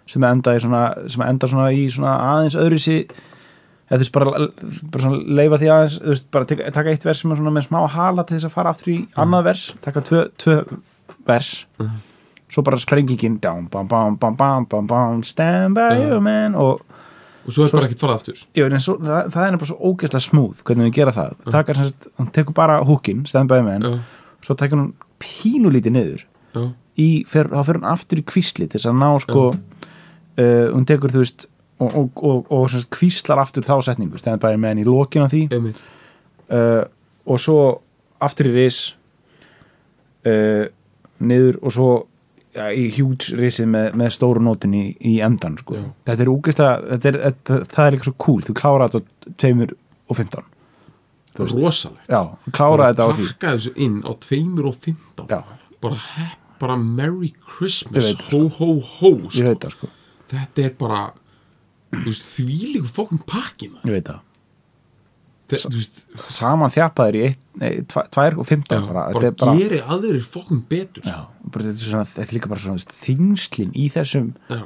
B: sem enda í svona sem enda svona í svona aðeins öðru sí eða þú veist, bara, bara svona leifa því aðeins, þú veist, bara taka, taka eitt vers sem er svona með smá hala til þess að fara aftur í annað vers, taka tvö, tvö vers svo bara sprengingin down, bam, bam, bam, bam, bam, bam, stand by
C: Já.
B: you man og
C: og svo er
B: Svo-
C: bara ekkert farað aftur
B: jú, en svo, það, það er bara svo ógeðslega smúð hvernig við gera það, Taka, sem sagt, hún tekur bara húkin, stand by you man
C: já,
B: svo tekur hún pínulítið niður
C: já,
B: í, fer, þá fer hún aftur í kvísli til þess að ná sko uh, hún tekur þú veist og, og, og, og, og sagt, kvíslar aftur þá setningu stand by you man í lokin á því
C: einmitt
B: uh, og svo aftur í ris uh, niður og svo ja, í huge risið með, með stóru nótin í, í endan sko.
C: Já.
B: þetta er úgeista þetta er, þetta, það er líka svo cool, þú klára þetta á tveimur og 15 Þú veist.
C: rosalegt
B: já, klára þetta á því
C: pakka þessu inn á 2 og 15
B: já,
C: bara hepp bara Merry Christmas
B: Ég veit,
C: ho ho ho
B: ég
C: sko.
B: veit það sko
C: þetta er bara þú veist, þvílíku fokkum pakki maður.
B: ég veit það,
C: Þe- þú veist,
B: saman þjapaðir í 2 og 15
C: já,
B: bara,
C: bara,
B: þetta er bara,
C: geri aðrir fokkum betur sko.
B: já, bara þetta, er svona, þetta er líka bara svona þú veist, þingslin í þessum
C: Já,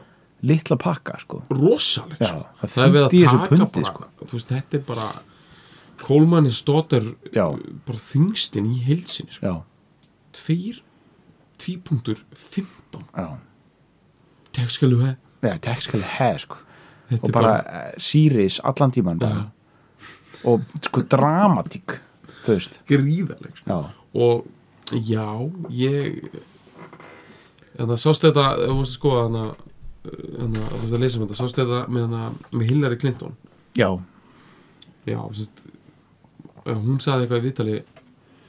B: litla pakka sko
C: rosalegt
B: Já,
C: sko.
B: það
C: það er við
B: þýddi í
C: að
B: þessu
C: taka
B: pundi,
C: bara,
B: sko.
C: þú veist, þetta er bara Kólmanni stóttar
B: Já.
C: bara þingstinn í heilsinni sko.
B: já,
C: tveir 2.15
B: já,
C: tekskalu hef
B: já tekskal hef sko
C: þetta
B: og
C: er
B: bara eh, Sirius allan tíman bara. og sko dramatík þú veist
C: gríðaleg sko.
B: já,
C: og já, ég þannig að sást þetta ef þú varst að skoða þannig að þannig að þú varst að lesa um þetta sást þetta með, hana, með Hillary Clinton
B: já,
C: já, sérst, já, hún sagði eitthvað í viðtali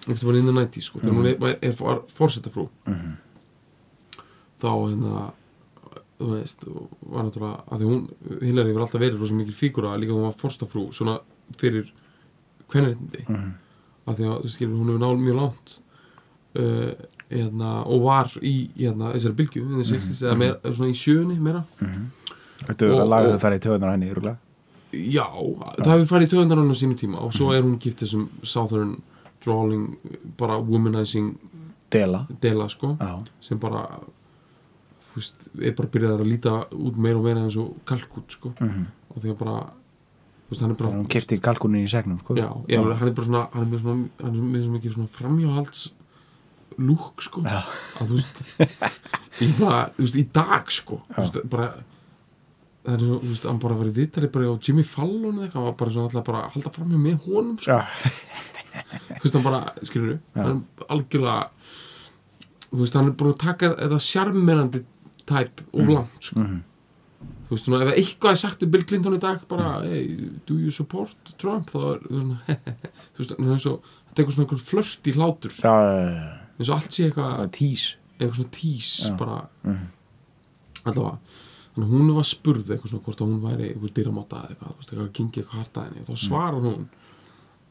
C: eftir hún innan 90 sko, þegar hún er, var- er, var fórsetafrú þá hérna þú veist, var náttúrulega að því hún, Hillary var alltaf verið rosa mikil fígura líka þegar hún var fórsetafrú svona fyrir kvenréttindi
B: Mhm.
C: að því að, þú skilur, hún hefur náð mjög langt uh, hérna, og var í hérna, þessari bylgju, mm -hmm. 60s eða meira, svona í sjöunni meira
B: þetta er
C: Og-
B: að laga
C: og-
B: þau færi í töðunar henni rúglega.
C: Já, það hefur farið í töðundar hann á sínum tíma og svo er hún gift þessum Southern Drawling, bara womanizing
B: dela
C: dela, sko,
B: já,
C: sem bara þú veist, er bara byrjað að líta út meira og meira eins og kalkút, sko og því að bara, þú veist, hann er bara
B: hún kefti kalkunin í segnum sko
C: já, já, hann er bara svona hann er með svona, hann er með svona mikið svona framhjáhalds lúk, sko
B: Já.
C: að þú veist ég bara, þú veist, í dag, sko þú veist, bara það er svo, þú veist, hann bara verið viðtalið bara á Jimmy Fallon eða eitthvað, hann var bara svona alltaf bara að halda framhjá með honum, sko,
B: já,
C: þú veist, hann bara skilur, hann er algjörlega þú veist, hann er búin að taka þetta sjarmerandi tæp of langt, sko þú veist, svona, ef eitthvað er sagt um Bill Clinton í dag, bara, hey, do you support Trump, þá er, þú veist, (laughs) þú veist, hann er svo, hann tekur svona einhvern flört í hlátur,
B: já, já,
C: eins og allt sé eitthvað
B: já tís
C: eitthvað svona tís bara allavega þannig að hún var spurð eitthvað svona hvort að hún væri eitthvað dýramáta eða eitthvað, þú veist, eitthvað gengi eitthvað hart að henni og þá svarar hún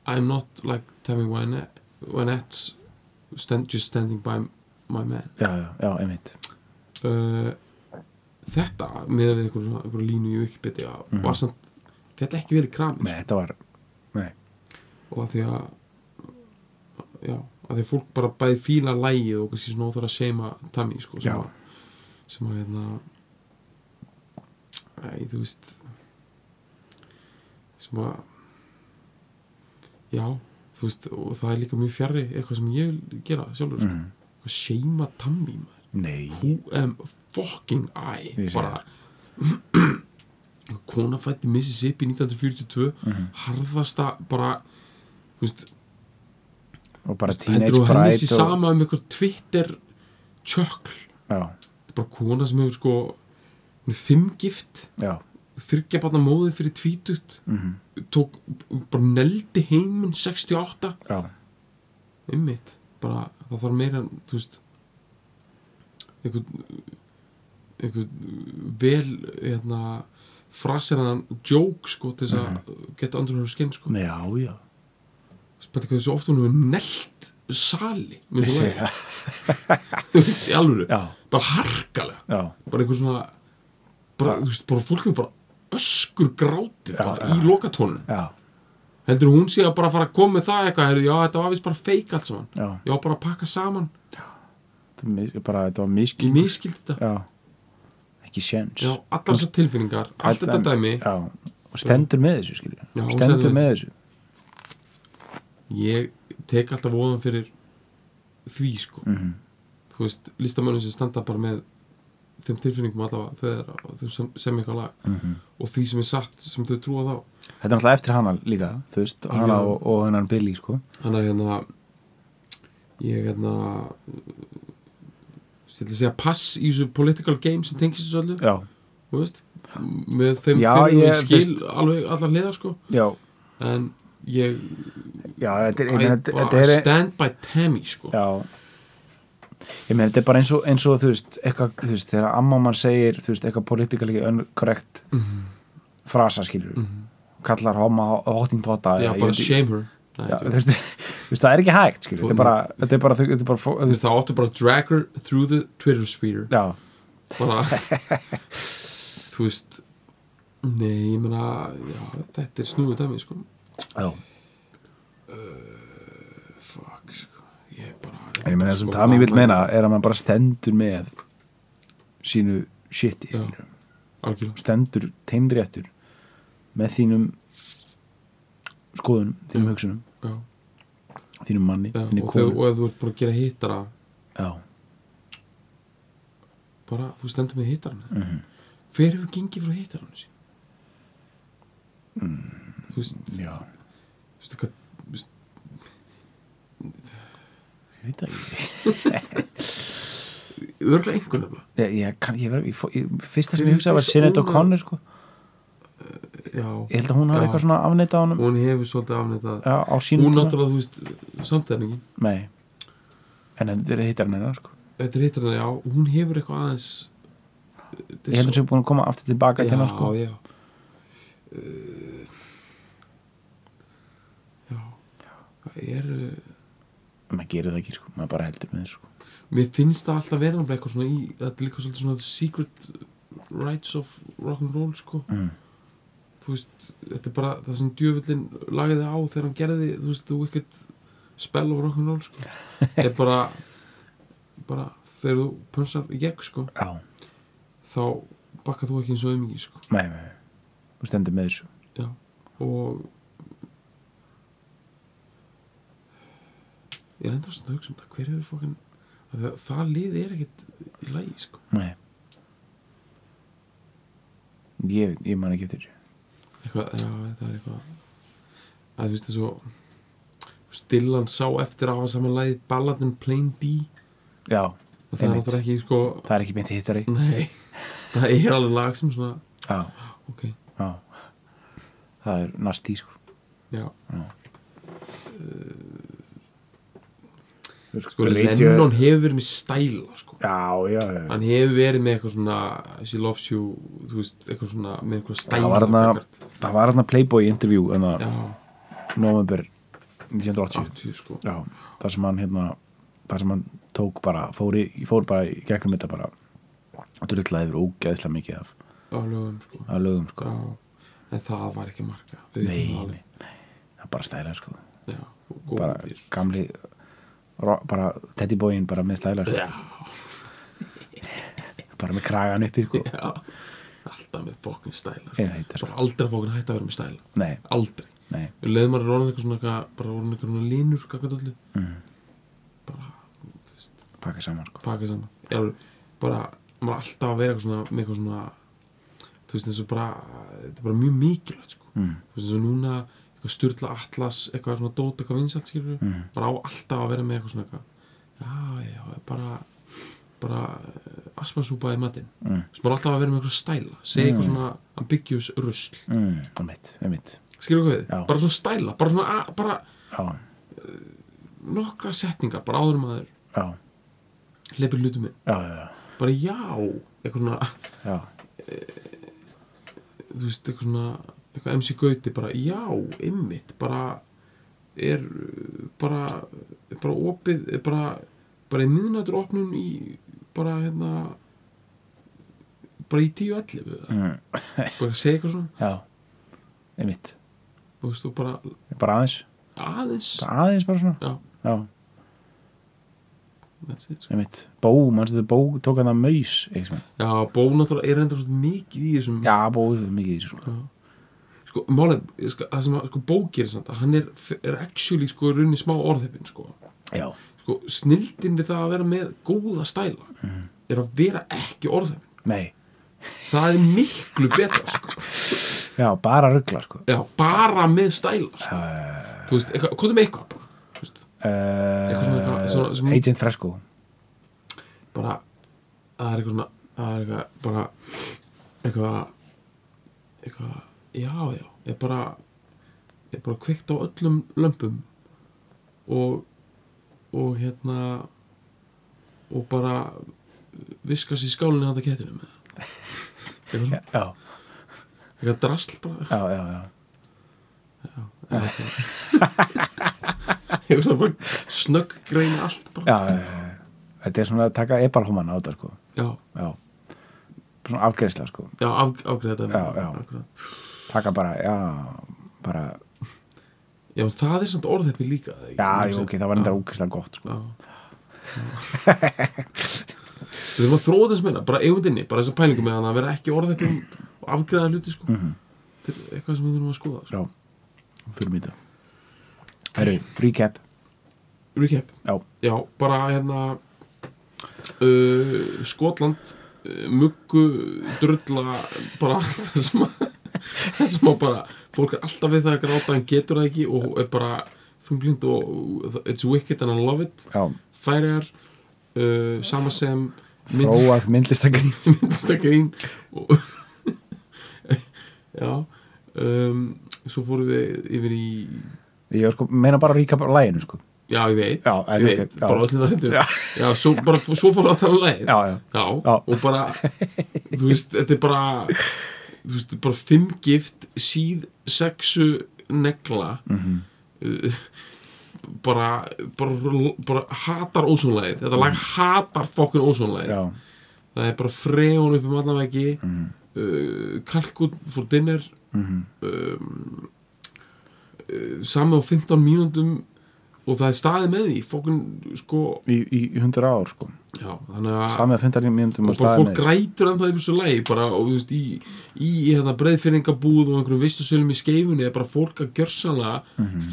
C: I'm not like Tammy Wynette, Wynette's stand, just standing by my man
B: já, já, já, einmitt
C: uh, þetta með við eitthvað, svona- eitthvað línu í Wikipedia var samt, þetta ekki verið kramið sko.
B: nei, þetta var, nei,
C: og að því að já, að því að fólk bara bæði fíla lægið og kannski svona óþar að seima Tammy sko, sem
B: Já.
C: að sem að hérna æ, þú veist sem að já, þú veist og það er líka mjög fjarrri eitthvað sem ég vil gera sjálfur mm. sko, seima Tammy maður
B: nei
C: who am ehm, fucking I
B: Ég sé
C: bara kona fætti Mississippi 1942
B: Mhm.
C: harðasta bara þú veist,
B: og bara teenage
C: heldur og henni sé
B: bride og,
C: sama um eitthvað Twitter tjökl
B: já,
C: Þetta er bara kona sem hefur sko hún er fimmgift
B: já, mhm,
C: þyrkja barna móðið fyrir tvítut tók bara neldi heiminn 68
B: já
C: einmitt bara það þarf meira en, þú veist einhvern einhvern vel hérna, fraseraðan joke sko til þess að
B: Mhm.
C: geta andur hún skinn sko
B: já, já
C: spætti hvað þessu ofta hún hefur nelt sali með þessu lagi (laughs) þú veist, í alvöru,
B: já,
C: bara harkalega
B: já,
C: bara einhver svona bara, þú veist, bara fólk hefur bara öskur grátið
B: Já,
C: bara,
B: já.
C: í lokatónun
B: já,
C: heldur hún sé að bara fara að koma með það eitthvað heyrðu, já, þetta var vist bara feik allt saman
B: já
C: já, bara að pakka saman,
B: Þetta er mis- bara, þetta var
C: ég
B: miskil
C: miskildi þetta
B: já, ekki séns
C: já, allar þessar tilfinningar, allt þetta dæmi
B: já, og stendur með þessu skilju
C: Já, hún
B: stendur
C: stendur
B: með þessu
C: ég tek alltaf ofan fyrir því sko
B: Mhm.
C: þú veist, listamönnum sem standa bara með þeim tilfinningum allavega þegar þau sem, sem eitthvað lag
B: Mhm.
C: og því sem er satt sem þau trúa þá
B: þetta er náttúrulega eftir hana líka þú veist, hana
C: Algjörlega.
B: og, og hennan Billy sko.
C: þannig að hérna ég hérna ég ætla að segja pass í þessu political game sem tengist þessu öllu
B: já,
C: þú veist, með þeim
B: Já,
C: þeim
B: ég-
C: ég skil
B: veist-
C: alveg allar hliðar sko
B: já,
C: en ég,
B: já þetta er,
C: I,
B: ég meina, þetta-
C: bara
B: þetta er
C: stand by Tammy sko
B: já ég meina, þetta er bara eins og, eins og þú veist, eitthvað, þú veist, þegar amma mann segir þú veist, eitthvað politikali unkorrekt mm
C: Mhm.
B: frasa skilur kallar homma hottingtotta
C: já,
B: eða ég
C: bara
B: veit ekki-
C: shame her Nei,
B: Já,
C: ekki.
B: þú veist, (laughs) þú veist, það er ekki hægt skilur, þetta er bara, þetta er bara, þetta er bara, fó- þú
C: Þú
B: veist,
C: veist, það áttu bara að drag her through the Twitter sphere
B: já, (laughs)
C: bara þú veist nei, ég meina já, þetta er snúið dæmi, sko
B: já.
C: fuck, sko, ég bara
B: En ég meina það sem
C: sko,
B: Tami
C: það
B: vil meina er að mann bara stendur með sínu shiti,
C: Já.
B: skilur.
C: algjörlega,
B: stendur teimdréttur með þínum skoðunum, þínum hugsunum,
C: já,
B: þínum manni,
C: já
B: þínni
C: og, þau,
B: konu.
C: og ef þú ert bara að gera hittara
B: Já,
C: bara, þú stendur með hittaran
B: Mhm.
C: hver hefur gengið frá hittaran sín
B: Mm.
C: þú veist,
B: já,
C: þú veist eitthvað þú veist,
B: ég veit það ekki.
C: örglega einhvern nefnilega
B: Ég, ég, kann, ég, ver, ég, fó- ég, fyrsta sem ég
C: Bryndís
B: hugsaði var Sinead
C: Óla-
B: O'Connor, sko.
C: já,
B: Ég held að hún hafi
C: Já.
B: eitthvað svona afneitað á honum
C: hún hefur svolítið afnitað
B: já, á sínum
C: hún náttúrulega, þú veist, samt er ekki
B: Nei, en þetta er hittar hennar, sko.
C: þetta er hittarinn, já, hún hefur eitthvað aðeins eh,
B: Ég held að hún sé búin að koma aftur tilbaka til hennar, sko.
C: já, já. Uh, já það er uh,
B: Maður gerir það ekki, sko. Maður bara heldur með þessu, sko.
C: mér finnst það alltaf vera nefnilega eitthvað svona í þetta er líka svolítið svona the secret rights of rock'n'roll sko
B: Mm.
C: þú veist, þetta er bara það sem djöfullin lagði á þegar hann gerði þú veist, þú ekkert spell of rock'n'roll sko þetta er bara bara þegar þú pönsar í gegn sko
B: Já,
C: þá bakkar þú ekki eins og aumingi sko
B: nei, nei, nei. Þú stendur með þessu.
C: Já, og ég er enda svona að hugsa um það hver hefur fókin það, það lið er ekkert í lagi sko.
B: Nei. Ég, ég man ekki eftir þessu.
C: eitthvað, já, það er eitthvað að þú veist það svo Dylan sá eftir að hafa saman lagið Ballad and Plain D
B: Já,
C: og það er
B: Einmitt.
C: náttúrulega ekki sko
B: það er ekki beint hittari.
C: nei, það er alveg lag sem svona
B: Já,
C: ok,
B: já. Það er nastí, sko.
C: já
B: Sko,
C: sko, Lennon hefur verið með stæla sko
B: Já, já, já.
C: hann hefur verið með eitthvað svona she loves you, þú veist, eitthvað svona með eitthvað stæla
B: Það var þarna- Það var hérna Playboy interview, en það,
C: já,
B: november 1980.
C: 80 sko
B: Já, það sem hann, hérna, það sem hann tók bara, fór, í, fór bara í gegnum þetta bara og drulllaði yfir ógeðslega mikið af,
C: á lögum sko
B: af lögum, sko.
C: já, en það var ekki marga við
B: Nei,
C: vitum
B: nei,
C: það alveg.
B: það er bara stælar sko
C: já, og
B: bara
C: góðir
B: gamli ro, bara Teddy Boyin bara með stælar sko.
C: já,
B: bara með kragan uppi sko.
C: já, alltaf með fokkin stæla
B: ég veit það
C: svo
B: sko
C: aldrei að fokkin hætta að vera með stæla
B: nei,
C: aldrei,
B: nei,
C: við leiðum maður rónan eitthvað svona eitthvað, bara rónan eitthvað svona línur kakað allir
B: Mhm.
C: bara, þú veist,
B: pakka saman sko
C: pakka saman ég er alveg, bara, maður er alltaf að vera eitthvað svona með eitthvað svona þú veist, eins og bara, þetta er bara mjög mikilvægt sko
B: mm,
C: þú veist eins og núna eitthvað styrla atlas, eitthvað svona dót eitthvað vinsalt skilur,
B: Mhm.
C: bara á alltaf að vera með eitthvað svona eitthvað já, já, bara bara aspasúpa í matinn,
B: Mm.
C: þú veist, bara alltaf að vera með eitthvað stæla, segja eitthvað svona ambiguous rusl,
B: mm, það mitt, það mitt
C: skilur hvað við,
B: Já.
C: bara svona stæla, bara svona a, bara
B: já,
C: nokkra setningar, bara áður en maður
B: já,
C: hleypir hlutum inn,
B: já, já, já.
C: bara já eitthvað svona,
B: já,
C: þú veist, eitthvað svona eitthvað MC Gauti, bara já, ymmit bara er uh, bara, er bara opið er bara, bara í miðnættur opnun í, bara hérna bara í 10-11 eða,
B: mm,
C: bara segja eitthvað svona
B: já einmitt,
C: þú veist, og bara
B: bara aðeins
C: aðeins
B: bara aðeins bara svona
C: Já.
B: já
C: that's it, sko.
B: einmitt, bó, mannstu þetta bó tók hann að maus eitthvað.
C: já, bó náttúrulega er enda svo mikið í þessum
B: já, bó, þetta er mikið í þessu sko.
C: sko, málið, sko, það sem að, sko, bókir samt, að hann er, er actually, sko, í rauninni smá orðheppin, sko
B: já,
C: sko, snildin við það að vera með góða stæla er að vera ekki orðheppin
B: nei,
C: það er miklu betra, sko
B: já, bara ruggla sko.
C: já, bara með stæla, sko þú veist, eitthvað, hvað er með eitthvað bara, þú veist,
B: uh,
C: svona- eitthvað- svona- svona-
B: Agent Fresco
C: bara það er eitthvað svona, það er eitthvað bara, eitthvað eitthvað, já, já ég bara, ég bara kveikt á öllum lömpum og og hérna og bara viska sér skálinni handa kettinum eitthvað svona,
B: já,
C: eitthvað drasl bara
B: já, já, já.
C: eitthvað svona bara snögg greina allt bara,
B: Já, já, já, já. þetta er svona að taka ebalhóman á þetta sko.
C: já,
B: já. svona afgreðsla sko.
C: já, af, afgreða þetta
B: Já, já.
C: Akkurat.
B: taka bara, já, bara
C: já, það er samt orðheppi líka eða ekki?
B: já,
C: Þú
B: jú,
C: veist,
B: ok, það var enda ógeðslega gott sko.
C: Já. Við þurfum að þróa þess meina, bara eigundinni, bara þessa pælingu með hann að vera ekki orðið ekki og afgreða hluti sko. Þetta er eitthvað sem við þurfum að skoða sko.
B: já, fyrir mýta Herru, recap
C: Recap,
B: já,
C: já, bara hérna uh, Skotland uh, muggu, drulla bara (laughs) það sem að það sem að bara, fólk er alltaf við það að gráta en getur það ekki og er bara þunglind og it's wicked and I love it
B: já,
C: færiðar uh, sama sem mynd-
B: fróað myndlistakrín
C: myndlistakrín og (laughs) já um, svo fórum við yfir í
B: ég var sko, meina bara recap á læginu sko.
C: já ég veit,
B: Já, en
C: ég veit
B: ok, já.
C: bara allir það hendur
B: Já.
C: já. svo, bara, svo fórum við að tala um leið
B: já, já,
C: Já,
B: Já.
C: og bara þú veist, þetta er bara þú veist, bara fimm gift síð sexu negla
B: Mhm.
C: uh, bara, bara, bara hatar ósónlegið, þetta lag hatar fokkun ósónlegið
B: Mhm. já,
C: það er bara freon upp um allan veggi
B: Mhm.
C: uh, kalkun fór dinner um, uh, samið á 15 mínúndum og það er staðið með því fokkun sko
B: í, í, í hundra ár sko.
C: já, þannig að
B: samið að fundarinn mínum
C: og bara fólk grætur en það yfir þessu lagi bara og þú veist í, í, í hérna breyðfyrningabúð og einhverjum vistusölum í skeifunni er bara fólk að gjörsanlega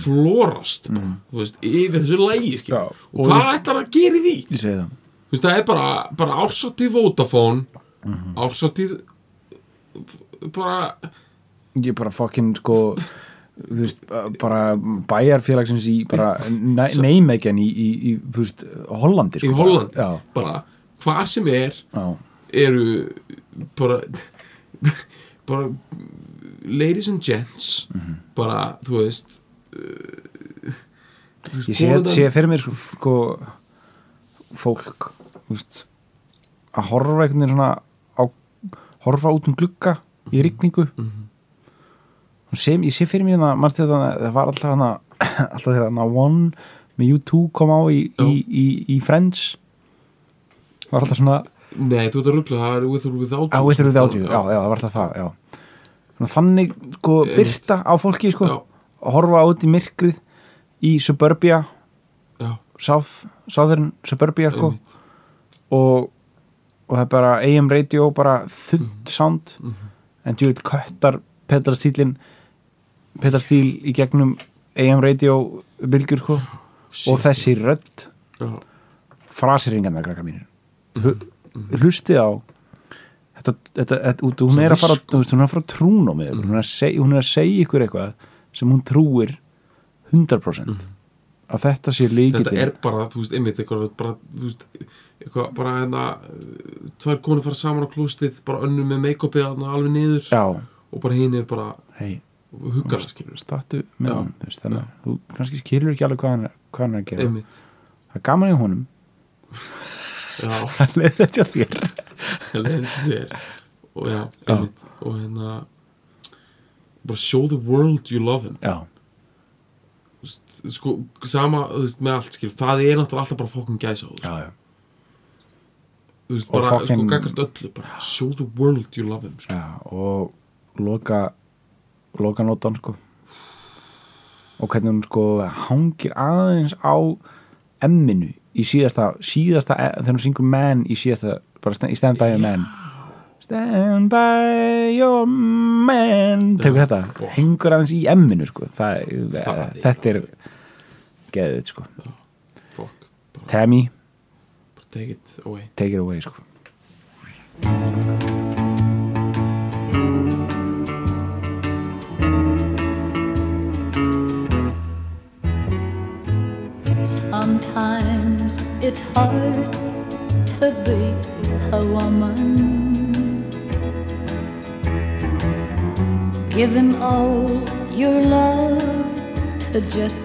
C: flórast bara, þú veist, yfir þessu lagi
B: Mhm.
C: skilur.
B: Já,
C: og
B: og-
C: hvað ætlar að gera í því
B: ég segi það
C: þú veist, það er bara, bara ársóttíð Vodafone mm
B: Mhm.
C: -hmm. ársóttíð bara,
B: ég bara fokkin sko þú veist, bara bæjarfélagsins í bara neymegjan í, í, í þú veist, Hollandi
C: í
B: sko,
C: Hollandi
B: já,
C: bara, hvar sem er
B: já,
C: eru bara bara ladies and gents
B: Mhm.
C: bara, þú veist uh,
B: ég sé, sé fyrir mér sko, sko fólk þú veist, að horfa einhvern veginn svona á, horfa út um glugga
C: Mhm.
B: í rigningu og sem, ég sé fyrir mér hana, manstu þetta, það var alltaf hana (clears throat) alltaf þegar hana One með U2 kom á í, í, í, í Friends það var alltaf svona
C: nei, þú ert að ruggla, það er with or without
B: Já,
C: you,
B: Ah, with or
C: sko.
B: without you, já, já, það var alltaf það, já Svona Þannig, sko,
C: Einmitt.
B: byrta á fólki, sko
C: já,
B: að horfa út í myrkrið í suburbia,
C: já,
B: south, southern suburbia, sko
C: einmitt.
B: og, og það er bara AM radio, bara
C: Mhm.
B: þund sound en djúið köttar pedarstílin pedarstíl í gegnum AM radio bylgjur, sko
C: Shit,
B: og þessi rödd
C: já,
B: frasiringarnar, krakkar mínir
C: Mhm.
B: hlustið á þetta, þetta, þetta út, hún
C: Sem Mhm.
B: er að fara
C: visk.
B: þú veist, hún er að fara að trúna með ykkur hún er, að seg, hún er að segja ykkur eitthvað sem hún trúir 100% að þetta sé
C: Mhm. þetta
B: líkillin
C: er bara, þú veist, einmitt eitthvað bara, þú veist, eitthvað bara hérna, uh, tvær konur fara saman á klóstið bara önnu með make-upið þarna alveg niður
B: já,
C: og bara hinn er bara
B: hei,
C: huggar, skilur við,
B: startu með
C: Já.
B: hann þú veist, þannig, að þú kannski skilur ekki alveg hvað hann, er- hvað hann er að gera
C: einmitt
B: það er gaman í honum
C: já, (laughs)
B: leiðilegt hjá þér
C: lendir og já, einmitt og hérna bara show the world you love him
B: já,
C: sko, sama, þú veist, með allt skil það er náttúrulega alltaf bara fokkin gæsa
B: já, já,
C: þú veist,
B: Og
C: bara,
B: fucking-
C: sko, gagast öllu bara show the world you love him sko.
B: já og loka loka nótan sko og hvernig hún sko hangir aðeins á emminu í síðasta, síðasta e, þegar hún syngur man í síðasta bara st í stand by your man stand by your man tekur
C: Já.
B: þetta,
C: Ó.
B: hengur aðeins í emminu sko, það,
C: Það er-
B: þetta er geðið sko
C: fuck, bara,
B: Tammy,
C: bara take it away
B: take it away sko
D: Sometimes it's hard to be a woman. Give him all your love to just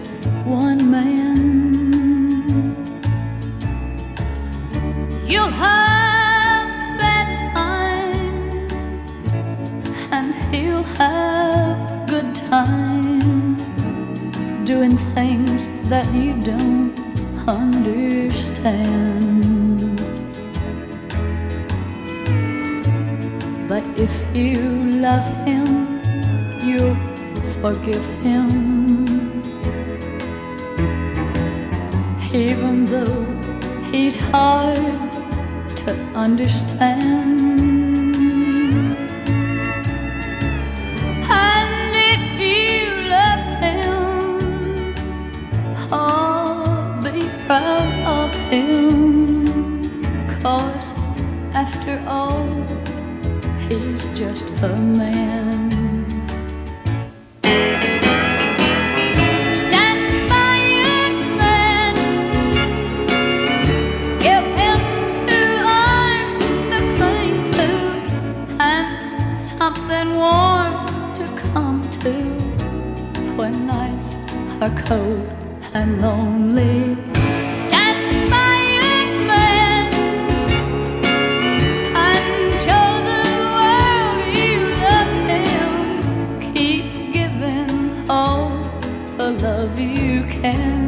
D: one man. You'll have bad times, and he'll have good times doing things that you don't understand. But if you love him, you'll forgive him. Even though he's hard to understand. And if you love him, oh, be proud of him. Cause after all, he's just a man. Stand by your man. Give him two arms to cling to and something warm to come to when nights are cold and lonely. Stand by your man and show the world you love him. Keep giving all the love you can.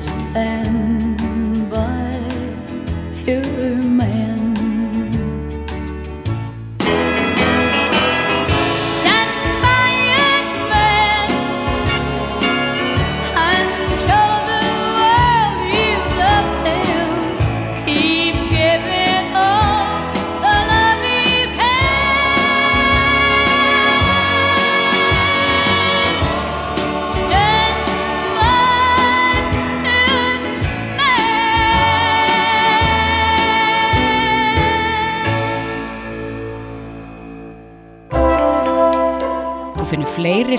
D: stand by your man. Stand by your man and show the world you love him. Keep giving all the love you can. Stand
A: Þú finnir fleiri